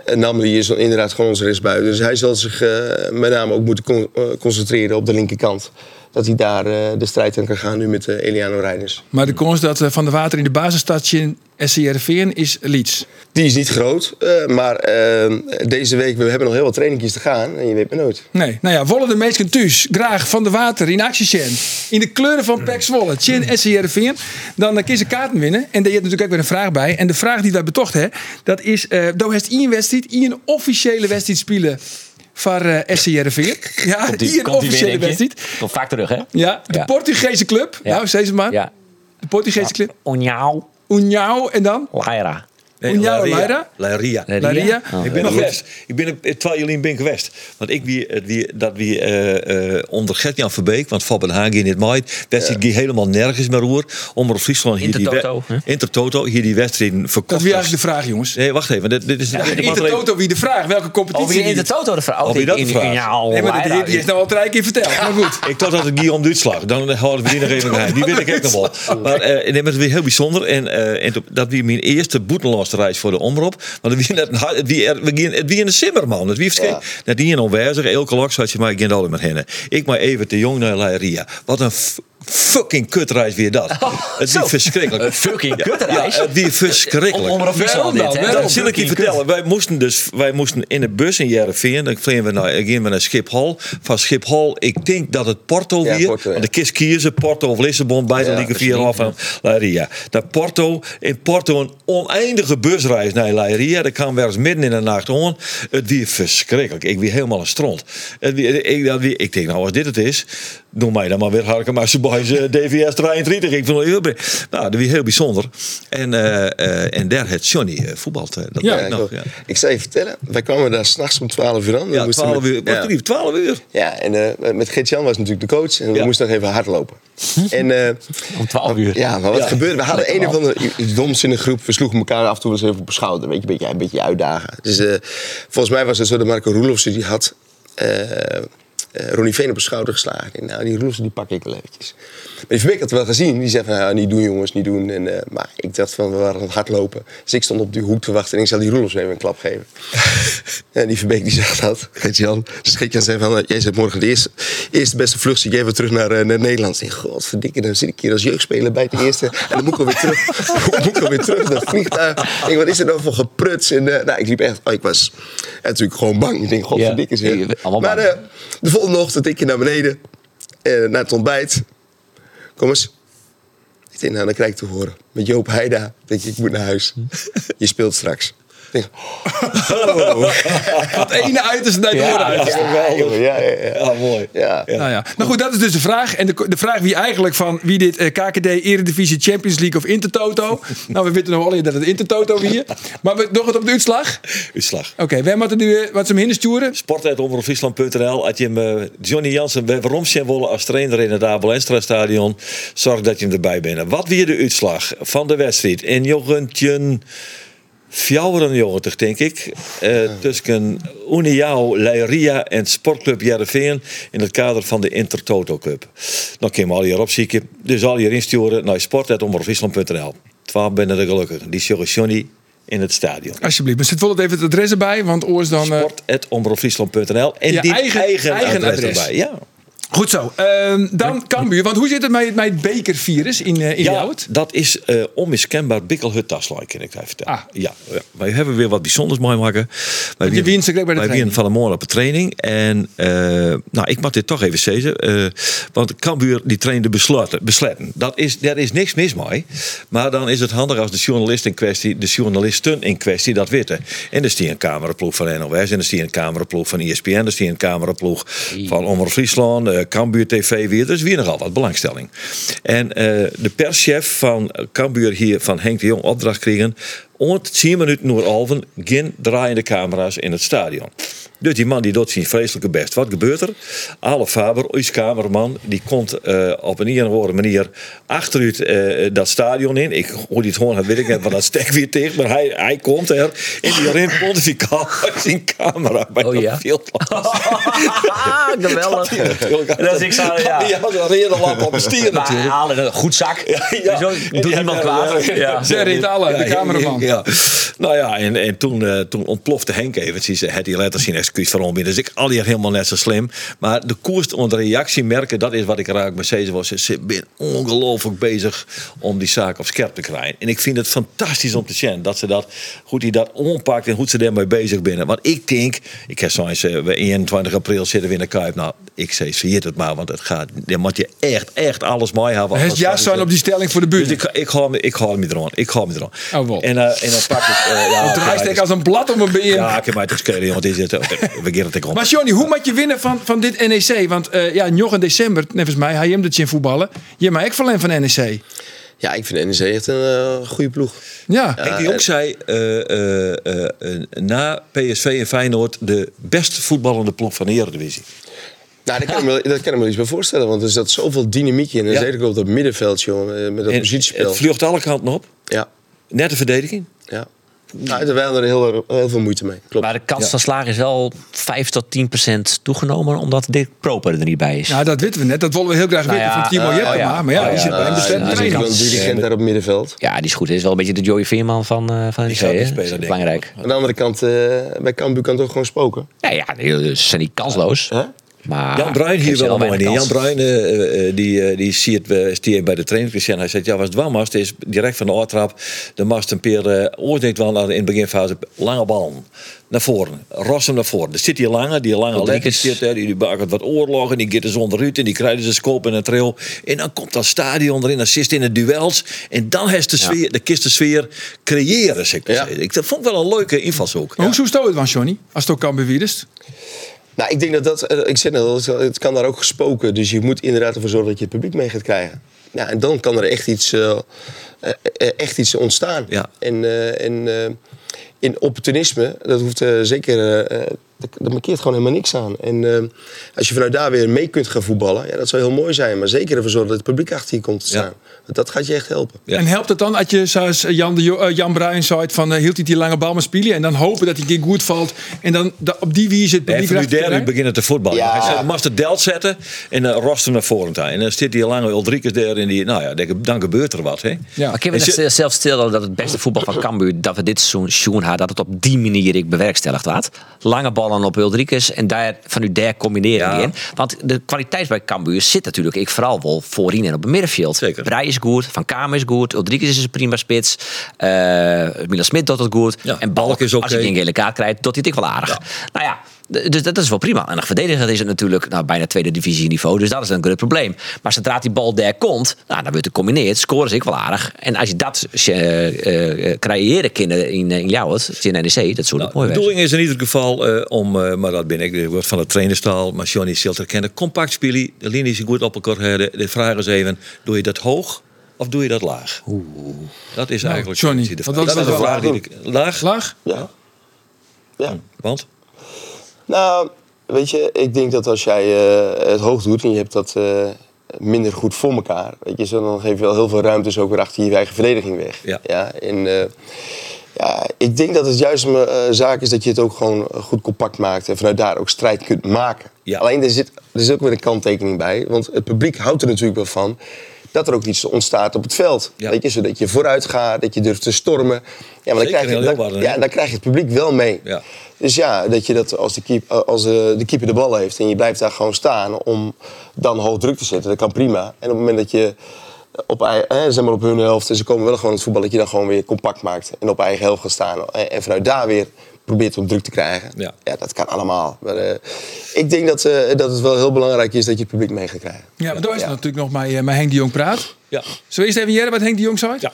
S7: eh, Namli is inderdaad gewoon onze rechtsbuiten. Dus hij zal zich eh, met name ook moeten con- eh, concentreren op de linkerkant. Dat hij daar eh, de strijd aan kan gaan nu met eh, Eliano Reinders.
S1: Maar de kans dat eh, Van der Water in de basis staat in SCRV'en is Leeds.
S7: Die is niet groot, eh, maar eh, deze week, we hebben nog heel wat trainingjes te gaan. En je weet maar nooit.
S1: Nee, nou ja, Wolle de Meesken thuis. Graag Van der Water in actie zien. In de kleuren van Pek Zwolle. Chin SCRV'en. Dan eh, kun ze kaarten winnen. En daar heeft natuurlijk ook weer een vraag bij. En de vraag die wij betocht hè, dat is... eh Doe heeft één wedstrijd, één officiële wedstrijd spelen van eh SCRV'en. Ja, één officiële wedstrijd.
S5: Komt vaak terug, hè?
S1: Ja, de
S5: Ja.
S1: Portugese club.
S5: Ja.
S1: Nou, zeg ze maar.
S5: Ja.
S1: De Portugese club.
S5: Onjao
S1: Unjao en dan?
S5: Laira.
S6: Nee,
S1: Unjao Laira?
S6: Laria.
S1: Laria.
S5: Oh.
S6: Ik ben nog west. Ik ben op- terwijl jullie in ben geweest. Want ik wie, het wie dat wie eh, eh, onder Gert-Jan Verbeek, want Fabian Hagen in het maait, wedstrijd die helemaal nergens meer roer. Onder Friesland hier
S5: Intertoto,
S6: die we- Intertoto hier die wedstrijden
S1: Dat
S6: verkocht.
S1: is eigenlijk de vraag, jongens.
S6: Nee, wacht even. Dit, dit is dit
S1: In
S6: wordt
S1: de
S6: alleen-
S1: toto wie de vraag. Welke
S5: Oh,
S1: competitie?
S5: wie in de
S1: die-
S5: Toto de vraag?
S6: Of wie dat de vraag?
S1: Nee, maar die, die is
S5: Laira.
S1: nou al drie keer verteld. Maar goed.
S6: Ik dacht dat het Guillaume Duitslag. Dan houden we die nog even geheim. Die wil ik ook nog wel. Maar eh nee, maar het is weer heel bijzonder. En, eh en toen- dat was mijn eerste boetenlastreis voor de omroep. Want het was net een hard- het was er- we gingen- het was in de Simmerman. Het was geen, net niet in onwijzig. Elke lok zat je maar, ik ging er alleen maar heen. Ik maar even te jong naar Leiria. Wat een f- fucking kutreis weer dat. het
S5: zo.
S6: liep verschrikkelijk.
S5: Een fucking kutreis?
S6: Ja, het liep verschrikkelijk.
S5: Om- om- om- Waarom dit, dan? hè? Waarom?
S6: Dat zal ik je
S5: Fucking
S6: vertellen. Wij moesten, dus, wij moesten in de bus in Jereveen. Dan gingen we naar, gingen we naar Schiphol. Van Schiphol, ik denk dat het Porto
S7: Ja,
S6: weer...
S7: Porto, ja.
S6: want de kist kiezen, Porto of Lissabon. Beide
S7: Ja,
S6: liegen vier af van Leiria. Dat Porto, in Porto een oneindige busreis naar Leiria. Dat kwam wel eens midden in de nacht om. Het weer verschrikkelijk. Ik weer helemaal een stront. Het wie- ik, dat wie- ik denk, nou als dit het is... Doe mij dan maar weer harken maar ze bij eh, ze DVS 33. Ik vond het heel... bre- Nou, dat was heel bijzonder. En, eh, eh, en daar had Johnny eh, voetbald. eh, dat
S7: Ja,
S6: weet ik
S7: ik,
S6: nog,
S7: ook.
S6: ja.
S7: ik zou je vertellen, wij kwamen daar s'nachts om 12 uur aan. We
S6: Ja,
S7: moesten
S6: 12
S7: met-
S6: uur. Wat
S7: ja.
S6: lief, 12 uur.
S7: Ja, en eh, met Geert-Jan was natuurlijk de coach. En we
S6: Ja.
S7: moesten nog even hardlopen. en, eh,
S5: Om 12 uur.
S7: Ja, maar wat
S6: Ja.
S7: gebeurde? We hadden een of andere doms in de groep. We sloegen elkaar af en toe eens even op de schouder. Weet je, een beetje, een beetje uitdagen. Dus eh, volgens mij was het zo dat Marco Roelofsen die had... eh, eh, Ronnie Veen op de schouder geslagen. En, nou, die Roelofsen die pak ik wel eventjes. Maar die Verbeek had het wel gezien. Die zei van, nou, niet doen jongens, niet doen. En, eh, maar ik dacht van, we waren aan het hardlopen. Dus ik stond op die hoek te wachten en ik zou die Roelofsen even een klap geven. en die Verbeek die zag dat. Geert-Jan. Dus Geert-Jan zei van, eh, jij zit morgen de eerste, eerste beste vlucht. Zie ik even terug naar, eh, naar Nederland. Ik denk, godverdikke, dan zit ik hier als jeugdspeler bij de eerste. En dan moet ik alweer terug, moet ik alweer terug naar het vliegtuig. Ik denk, wat is er nou voor gepruts? En, eh, nou, ik liep echt, oh, ik was natuurlijk gewoon bang. Ik denk, godverdikke. zeg.
S5: Ja, allemaal
S7: maar
S5: bang.
S7: eh, de volgende ochtend ik je naar beneden. eh, naar het ontbijt. Kom eens. Ik denk, nou, dan krijg ik te horen. Met Joop Heida. Denk ik, ik moet naar huis. Je speelt straks. Ik denk, oh.
S1: Het ene uiterste naar het andere uiterste.
S7: ja, jongen, ja, ja, ja.
S6: Ah, mooi.
S7: Ja.
S1: Nou ja. Nou goed, dat is dus de vraag. En de, de vraag wie eigenlijk van wie dit eh, KKD, Eredivisie, Champions League of Intertoto. nou, we weten nog alleen dat het Intertoto hier. Maar we, nog het op de uitslag. Oké,
S6: Uitslag.
S1: wij moeten nu eh, wat ze hem hinder sturen.
S6: Sport.omroepfriesland.nl. Had je hem, eh, Johnny Jansen, we- waarom zijn wollen als trainer in het Abel Enstra Stadion? Zorg dat je hem erbij bent. Nou, Wat weer de uitslag van de wedstrijd? In Jochentjen 94, denk ik. eh, Tussen Uniao, Leiria en Sportclub Jereveen. In het kader van de Intertoto Cup. Dan kun je hem al hier opzieken. Dus al hier insturen naar sport.omroepfriesland.nl. 12 binnen de gelukkigen. Die zorgen Johnny in het stadion.
S1: Alsjeblieft. Maar zet wel even het adres erbij, want oors dan... eh,
S6: Sport.omroepfriesland.nl en
S1: Je
S6: die
S1: eigen-
S6: eigen,
S1: eigen
S6: adres,
S1: adres.
S6: erbij. Ja.
S1: Goed zo. Ehm, dan Cambuur. Want hoe zit het met, met het bekervirus in, eh in
S6: Ja,
S1: Ljouwert?
S6: dat is eh, onmiskenbaar Bikkelhut-taslijn, kan ik daar vertellen.
S1: Ah.
S6: Ja, ja, wij hebben weer wat bijzonders mooi maken. Wij
S1: je wint ze bij de
S6: wij
S1: training.
S6: wien van de morgen op de training. En eh, nou, ik mag dit toch even zeggen. eh, want Cambuur die trainde besluiten, besletten. Dat is, daar is niks mis mee. Maar dan is het handig als de journalist in kwestie, de journalisten in kwestie dat weten. En er is een cameraploeg van NOS. En er is een cameraploeg van E ESPN. Er is een cameraploeg van Omroep Friesland. eh, Cambuur TV weer. Dus weer nogal wat belangstelling. En eh, de perschef van Cambuur hier, van Henk de Jong, opdracht kregen. Ont 10 minuten naar Alven, geen draaiende camera's in het stadion. Dus die man die doet zijn vreselijke best. Wat gebeurt er? Ale Faber, ons cameraman, die komt eh, op een een of andere manier achteruit eh, dat stadion in. Ik hoor die het gewoon, dat weet ik net, want dat stek weer tegen. Maar hij, hij komt er en die rent pontificaal uit zijn camera bij
S5: Oh
S6: dat
S5: ja?
S6: veldplan.
S5: Ah, geweldig. Dat is ik zou- ja.
S6: Die had een redenlap op het stier
S5: Maar
S6: natuurlijk.
S5: halen een goed zak.
S6: Ja.
S5: Zo
S6: En die
S5: doet niemand
S6: hebben-
S5: kwaad.
S6: ja.
S5: Ja.
S1: Zeg Rit Alle, de cameraman.
S6: Ja. Nou ja, en, en toen, eh, toen ontplofte Henk eventjes. eh, Het die letters zien excuus voor onbieden. Dus ik al hier helemaal net zo slim. Maar de koers onder reactie merken, dat is wat ik raak met Cezen was. Ze ben ongelooflijk bezig om die zaak op scherp te krijgen. En ik vind het fantastisch om te zien dat ze dat, hoe die dat oppakt en hoe ze daarmee bezig binnen. Want ik denk, ik heb zoiets, eh, we 21 april zitten we in de Kuip. Nou, ik zei, zie het maar, want het gaat, daar moet je echt, echt alles mooi hebben.
S1: Het is juist zijn op die stelling voor de buurt.
S6: Dus ik, ik, hou, me- ik hou me eraan. Ik hou me eraan.
S1: Oh, wel.
S6: En, eh, en dan pak ik... eh, ja,
S1: Het draait
S6: oké,
S1: echt als een blad om een beer.
S6: Ja, ik heb mij te schelen, jongen. Dit is het. Oké, We gaan het ik om.
S1: Maar Johnny, hoe moet je winnen van, van dit NEC? Want eh ja, nog in december, nevens mij, hij hem dat je in voetballen. Je maar ik verlen van E NEC.
S7: Ja, ik vind NEC echt een eh, goede ploeg.
S1: Ja.
S6: Henk de Jong zei eh, eh, eh, eh, na PSV en Feyenoord de best voetballende ploeg van de Eredivisie.
S7: Nou, daar kan, ik me, wel- daar kan ik me wel iets bij voorstellen. Want er zat zoveel dynamiek in. En
S6: Ja.
S7: zeker op dat middenveld, jongen. eh, Met dat
S6: En
S7: positiespel.
S6: Het vlucht alle kanten op.
S7: Ja,
S6: Net de verdediging.
S7: ja. Nou, wij hadden er heel, heel veel moeite mee. Klopt.
S5: Maar de kans van slagen is wel 5 tot 10 toegenomen, omdat Dirk Proper er niet bij is.
S1: Nou, dat weten we net. Dat willen we heel graag
S5: Nou
S1: weten
S5: ja,
S1: van Timo
S5: eh,
S1: Jeppema.
S5: oh ja.
S1: Maar ja,
S5: Oh
S1: die
S5: ja,
S1: zit bij
S5: eh,
S1: een
S5: ja,
S1: bestemde
S5: die
S1: trainer.
S7: dan
S5: kans.
S7: de dirigent daar op het middenveld.
S5: Ja, die is goed. Hij is wel een beetje de Joey Veerman van, eh van NEC.
S6: zou die
S5: hè?
S6: speler
S5: Dat is
S6: denken.
S5: belangrijk.
S7: Aan de andere kant, eh, bij Cambuur kan het ook gewoon spoken.
S5: Ja, ja, nee, ze zijn niet kansloos.
S7: Hè?
S5: Maar
S6: Jan Bruin hier
S5: heeft
S6: wel mooi
S5: weinig
S6: neer. Jan
S5: kans.
S6: Bruin eh, eh, eh, die, eh, die ziet eh, stier bij de training. En hij zegt, ja, was het wel mast, is direct van de oortrap. De mast een peer eh ooit wel naar in de beginfase lange bal naar voren. Ros hem naar voren. Er zit die lange, die lange lekker
S5: Rodriguez.
S6: zit er. Die die bakert wat oorlogen, die gaat er zonder uit en die krijgen ze scoop en een trail. En dan komt dat stadion erin, dan zit in de duels. En dan heeft de sfeer, de kist de sfeer creëren, zeg ik maar
S7: Ja.
S6: zeggen. Ik dat vond ik wel een leuke invalshoek.
S1: Maar hoe zoest het dan, Johnny? Als het ook kan bewierst.
S7: Nou, ik denk dat dat, eh, ik zeg net, al, het- het kan daar ook gespoken. Dus je moet inderdaad ervoor zorgen dat je het publiek mee gaat krijgen. Ja, en dan kan er echt iets, eh, eh, eh, echt iets ontstaan.
S6: Ja.
S7: En, eh, en eh, in opportunisme, dat hoeft eh, zeker, eh, eh, dat, dat markeert gewoon helemaal niks aan. En eh, als je vanuit daar weer mee kunt gaan voetballen, ja, dat zou heel mooi zijn. Maar zeker ervoor zorgen dat het publiek achter je komt te
S6: Ja.
S7: staan. Want dat gaat je echt helpen.
S6: Ja.
S1: En helpt het dan dat je, zoals Jan, de, Jo- eh, Jan Bruin zei, het van, eh, hield hij die lange bal maar spelen en dan hopen dat hij keer goed valt. En dan da- op die wie zit
S6: Hij
S1: publiek
S6: heeft nu
S1: recht.
S6: derde beginnen te voetballen.
S7: Ja.
S6: Hij zei, "Mas de delt zetten en dan rost hem naar voren toe. En dan zit die lange Ulrikes daar in die... Nou ja, denk ik, dan gebeurt er wat, hè?
S1: Ja.
S5: Maar ik heb me
S6: En ze-
S5: net zelf stilstellen dat het beste voetbal van Cambuur... dat we dit seizoen seizoen hadden, dat het op die manier ik bewerkstelligd was. Lange ballen op Ulrikes en daar, van u daar combineren
S6: Ja.
S5: in. Want de kwaliteit bij Cambuur zit natuurlijk... ik vooral wel voorin en op het middenveld.
S6: Zeker.
S5: Breij is goed, Van Kamer is goed, Ulrikes is een prima spits. eh Milan Smit doet het goed.
S6: Ja,
S5: en
S6: Balk
S5: Balk
S6: is
S5: is
S6: oké.
S5: ook Als hij een gele kaart krijgt, doet hij het ook wel aardig. Nou ja... d- Dus dat is wel prima. En een verdediger is het natuurlijk nou, bijna tweede divisie niveau. Dus dat is een groot probleem. Maar zodra die bal daar komt, nou, dan wordt het combineerd. Scoren ze ik wel aardig. En als je dat eh, eh, creëren kinderen in, eh, in jouw het, in NEC, dat soort mooi
S6: Nou, de
S5: wezen.
S6: bedoeling is in ieder geval eh, om, eh, maar dat ben ik, ik word van de trainerstaal, maar Johnny Silter kennen. Compact spelen, de linies goed op elkaar hebben. De vraag is even, doe je dat hoog of doe je dat laag? Dat is eigenlijk
S1: Nou, Johnny, want
S6: de vraag.
S1: dat
S6: Dat,
S1: is
S6: is de
S1: wel
S6: vraag die ik... Laag?
S1: Laag?
S7: Ja. ja.
S6: Want?
S7: Nou, weet je, ik denk dat als jij eh, het hoog doet en je hebt dat eh, minder goed voor elkaar, weet je, zo dan geef je wel heel veel ruimtes ook weer achter je eigen verdediging weg.
S6: Ja.
S7: en, eh, ja, ik denk dat het juist een eh, zaak is dat je het ook gewoon goed compact maakt en vanuit daar ook strijd kunt maken.
S6: Ja.
S7: Alleen er zit, er zit ook weer een kanttekening bij, want het publiek houdt er natuurlijk wel van dat er ook iets ontstaat op het veld.
S6: Ja.
S7: Weet je, zodat je vooruit gaat, dat je durft te stormen. Ja, maar
S6: Zeker
S7: dan krijg
S6: in
S7: je, dan-
S6: Leeuwarden, hè?
S7: ja, en dan krijg je het publiek wel mee.
S6: Ja.
S7: Dus ja, dat je dat als, de, keep, eh, als eh, de keeper de bal heeft en je blijft daar gewoon staan om dan hoog druk te zetten, dat kan prima. En op het moment dat je op, ei- eh, zeg maar op hun helft en ze komen wel gewoon het voetbal, dat je dan gewoon weer compact maakt en op eigen helft gaat staan. En, en vanuit daar weer probeert om druk te krijgen.
S6: Ja.
S7: dat kan allemaal. Maar, eh, ik denk dat, eh, dat het wel heel belangrijk is dat je het publiek mee gaat krijgen.
S1: Ja, maar daar is
S7: Ja.
S1: natuurlijk nog mijn, eh, mijn Henk de Jong praat.
S6: Ja.
S1: Zo eerst even jaren wat Henk de Jong zei?
S6: Ja.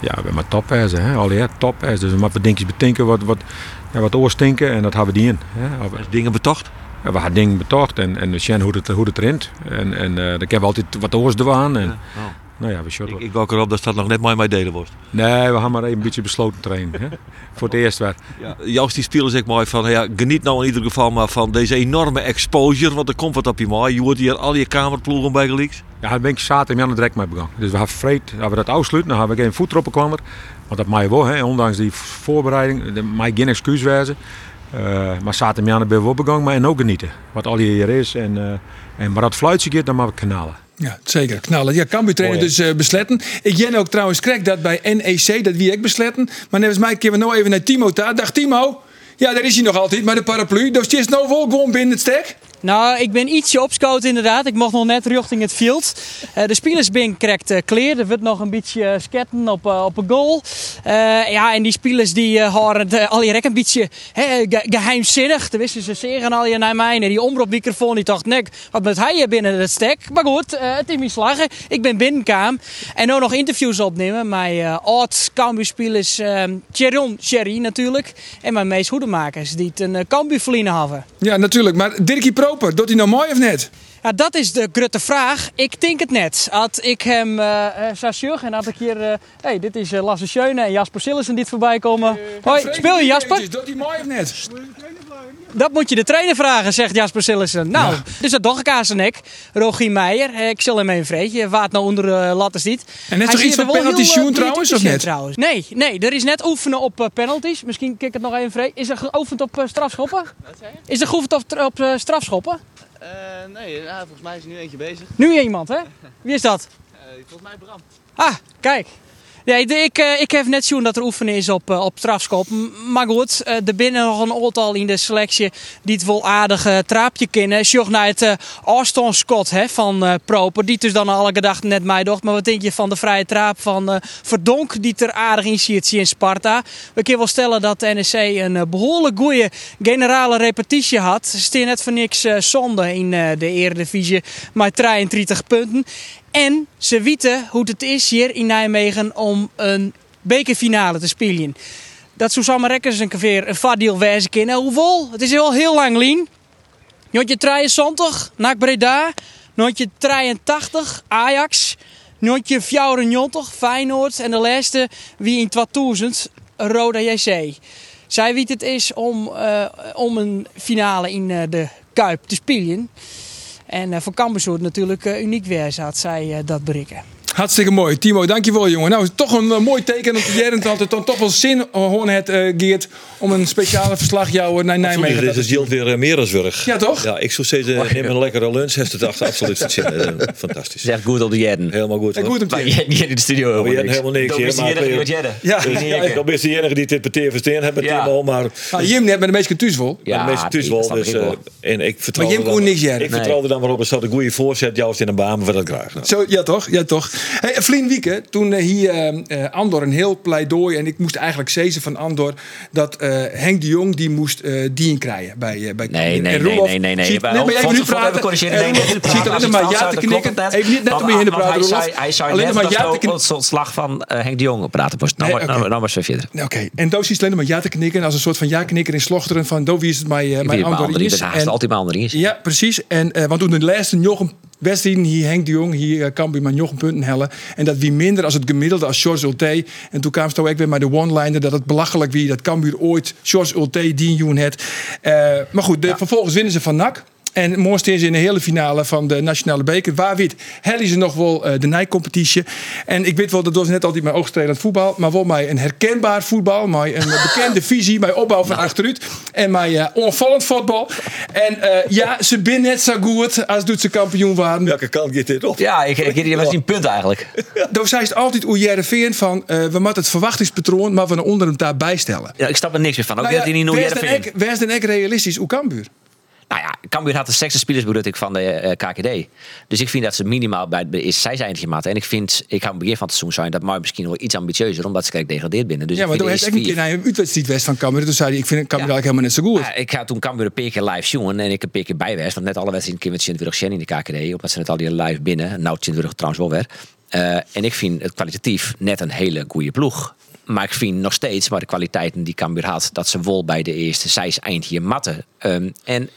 S4: Ja, we hebben topheizen, hè. Allee, hè, topheizen. Dus maar we dingetjes betinken, wat, wat, ja, wat oorstinken en dat hebben we die in. Hè. Of-
S6: Dingen betocht?
S4: ja, we hadden dingen betocht en, en we zien hoe het, hoe het rent. En, en eh, dan hebben we altijd wat oors doen. En, Nou ja, we shot
S6: oh. Ik, ik wou erop, dat staat nog net mooi bij delen wordt.
S4: Nee, we gaan maar even een beetje besloten trainen. Hè. Voor het eerst weer.
S6: Ja. Joost die spelers ik mooi van, ja, geniet nou in ieder geval maar van deze enorme exposure, want er komt wat op je mooi. Je hoort hier al je kamerploegen bij gelieks.
S4: Ja, daar ben ik zaterdag aan de direct mee begonnen. Dus we hebben vreed, als we dat afsluiten, dan hebben we geen voetroppen kwam er. Want dat mij wel, hè, ondanks die voorbereiding, dat mij geen excuus wijzen. Eh, maar zaterdag ben ik wel begonnen, maar en ook genieten. Wat al hier is. En, eh, en, maar dat fluitje gaat, dan maar we knallen.
S1: Ja, zeker. Knallen. Ja, Cambuur trainen dus eh, besletten. Ik jen ook trouwens krek dat bij NEC, dat wie ik besletten. Maar nevens mij keren we nou even naar Timo daar. Dag Timo. Ja, daar is hij nog altijd, maar de paraplu. Dus die is nou wel gewoon binnen het stek.
S8: Nou, ik ben ietsje opscoot inderdaad. Ik mocht nog net richting het veld. Eh, de spielersbink krijgt eh kleer. Er wordt nog een beetje eh, sketten op, eh, op een goal. Eh, ja, en die spelers die eh, horen het, eh, al je rek een beetje hè, ge- geheimzinnig. Daar wisten ze zeer en al je naar mij. En die omroepmicrofoon die dacht, nek, wat met hij hier binnen het stek? Maar goed, eh, het is mijn slagen. Ik ben binnenkaam. En ook nog interviews opnemen. Mijn eh oud Cambuur-spelers ehm Cheron Sherry natuurlijk. En mijn meest hoedemakers die het een uh, Cambuur-verliezen hadden.
S1: Ja, natuurlijk. Maar Dirkie Proper, doet hij nou mooi of net?
S8: Ja, dat is de grote vraag. Ik denk het net. Had ik hem eh eh, zou zeggen en had ik hier... eh, hey, dit is eh, Lasse Schöne en Jasper Sillissen die het voorbij komen. Hoi, speel je Jasper?
S1: Doet hij mooi of net?
S8: Dat moet je de trainer vragen, zegt Jasper Sillissen. Nou, dus dat dacht ik aan zijn nek. Rogier Meijer, eh, ik zal hem even vreetje. Waat nou onder eh, lat is niet.
S1: En net
S8: Hij
S1: toch iets
S8: zit er wel
S1: van penalty
S8: heel, eh,
S1: shoot trouwens, of
S8: politiek in,
S1: net?
S8: Trouwens. Nee, nee, er is net oefenen op eh, penalties. Misschien kijk ik het nog even vreet. Is er geoefend op eh, strafschoppen? Is er geoefend op, op eh, strafschoppen?
S9: Eh, nee, nou, volgens mij is er nu eentje bezig.
S8: Nu iemand, hè? Wie is dat?
S9: Eh, volgens mij Bram.
S8: Ah, kijk. Nee, de- ik, eh, ik heb net zien dat er oefenen is op, eh, op strafschop. M- Maar goed, eh, er binnen nog een aantal in de selectie die het wel aardig eh, traapje kennen. Sjoch naar het eh, Austin Scott hè, van eh, Proper. Die dus dan alle gedachten net mij docht. Maar wat denk je van de vrije traap van eh, Verdonk die het er aardig in ziet in Sparta. We kunnen wel stellen dat de NEC een eh, behoorlijk goede generale repetitie had. Ze staan net voor niks eh, zonde in eh, de Eredivisie maar 33 punten. En ze weten hoe het is hier in Nijmegen om een bekerfinale te spelen. Dat Susanne Rekkers een keer een vaardiel wijzen kunnen. Hoewel, het is al heel lang lien. Nootje 73, NAC Breda. Nootje 83, Ajax. Nootje 94, Feyenoord. En de laatste, wie in 2000, Roda JC. Zij wie het is om, eh, om een finale in eh, de Kuip te spelen. En eh, voor Cambus zou het natuurlijk eh, uniek weer had zij eh, dat berikken.
S1: Hartstikke mooi. Timo, dankjewel jongen. Nou, toch een eh, mooi teken dat Jerent had het dan toch wel zin, hoorn het eh, Geert, om een speciale verslag jou eh, naar Nijmegen
S6: Dit
S1: te
S6: is Jilt weer eh, meer dan zorg.
S1: Ja, toch?
S6: Ja, ik zou zeggen,
S4: Oh,
S6: eh, neem een lekkere lunch. Heeft het achter absoluut van zin. Eh, Fantastisch.
S5: Zegt goed op de Jedden.
S6: Helemaal goed.
S1: En
S6: hoor.
S1: goed op
S5: Maar
S1: je.
S5: Jedden hier in de studio
S6: Maar Jedden
S5: helemaal
S6: helemaal
S5: niks.
S6: niks,
S5: Dat is
S6: hè, maar
S5: Jedden,
S6: ik-
S5: wat Jedden.
S1: Ja.
S5: Die is
S6: Ja, ik
S5: hier.
S6: ben best de enige die dit peteer verstaan hebben,
S5: Ja.
S6: Timo, maar
S1: Nou, Jim net met de meeste thuis wel.
S5: Ja,
S6: ja, de meeste thuis
S5: die- dat snap
S6: wel. Dus,
S5: ik wel.
S6: eh, en ik vertrouwde
S1: Jim
S6: dan-
S1: Koen niks, Jerren.
S6: Ik
S5: Nee.
S6: vertrouwde dan maar op, er zat een goede voorzet, juist in de baan, we dat graag. Nou,
S1: Zo, ja toch, ja toch. Hey, Vlien Wieke, toen eh, hier eh, eh, Andor een heel pleidooi... en ik moest eigenlijk zezen van Andor... dat eh, Henk de Jong die moest eh dien krijgen bij, eh, bij
S5: Nee, nee,
S1: en
S5: nee,
S1: Roelof
S5: nee, nee, nee.
S1: ziet-
S5: Wij-
S1: nee, maar even
S5: Van
S1: nu
S5: tevoren
S1: praten.
S5: even corrigeren.
S1: En
S5: Nee,
S1: Eh, Roelof
S5: nee, nu
S1: ziet
S5: praten.
S1: alleen
S5: Als
S1: maar
S5: het
S1: ja
S5: fout
S1: te
S5: staat, dan
S1: knikken.
S5: klopt het.
S1: Even niet net om je heen te
S5: Want- want
S1: praten,
S5: Hij
S1: Roelof.
S5: zei, hij zei
S1: Alleen
S5: net
S1: maar
S5: dat
S1: ja
S5: we
S1: te knikken.
S5: op het slag van eh, Henk de Jong praten moest. Nou,
S1: Nee,
S5: maar-
S1: oké.
S5: nou, nou was het weer verder.
S1: Oké, en Doos is alleen maar ja te knikken... als een soort van ja-knikker in slochteren van... Doe, wie is het mijn, eh, mijn
S5: Weer maar
S1: Andor
S5: André,
S1: is?
S5: dat haast
S1: En-
S5: altijd maar André is.
S1: Ja, precies. En, eh, want toen de laatste Jochem wedstrijden hier Henk de Jong, hier eh, Cambuur maar Jochem punten hellen. En dat wie minder als het gemiddelde als George Ulte. En toen kwam het ook weer maar de one-liner dat het belachelijk wie dat Cambuur ooit George Ulte dien joen het. Eh, maar goed, de- vervolgens winnen ze van NAC. En morgen staan ze in de hele finale van de Nationale Beker. Waar weet, hel is er nog wel eh, de Nijcompetitie. En ik weet wel, dat was net altijd mijn oogstrelend voetbal. Maar wel mij een herkenbaar voetbal. Mij een bekende visie. Mij opbouw van achteruit. En mij eh, onvallend voetbal. En eh, ja, ze binnen net zo goed als doet ze kampioen waren.
S6: welke kant gaat dit op?
S5: Ja, ik, ik, dat was niet een punt eigenlijk.
S1: Daar zei het altijd hoe Jereveen van... eh, we moeten het verwachtingspatroon, maar we naar onder hem daarbij stellen.
S5: Ja, ik snap er niks meer van. Ook
S1: Nou
S5: dat hij niet
S1: wees
S5: nooit
S1: dan
S5: vindt.
S1: ek- wees dan ek realistisch, hoe Cambuur?
S5: Nou ja, Cambuur had de sekste spelersbenutting van de eh, KKD. Dus ik vind dat ze minimaal bij het is zij zijn het gemaakt. En ik vind, ik ga aan het begin van het seizoen zijn dat maar misschien wel iets ambitieuzer, omdat ze kijk degradeerd binnen. Dus
S1: Ja, maar
S5: ik
S1: toen
S5: vind
S1: heeft ik
S5: eerst
S1: een keer
S5: vier.
S1: naar een uitwedstrijd west van Cambuur. Toen zei hij, ik vind Cambuur eigenlijk helemaal net zo goed.
S5: Ja, ik ga toen Cambuur een paar keer live jongen en ik een paar keer bij was, Want net alle wedstrijden een keer met 24 Shen in de KKD. Omdat ze net al die live binnen. Nou, 24 trouwens wel weer. Eh, en ik vind het kwalitatief net een hele goede ploeg. Maar ik vind nog steeds, maar de kwaliteiten die Cambuur had, dat ze wol bij de eerste zijs eind hier matten. Ehm, en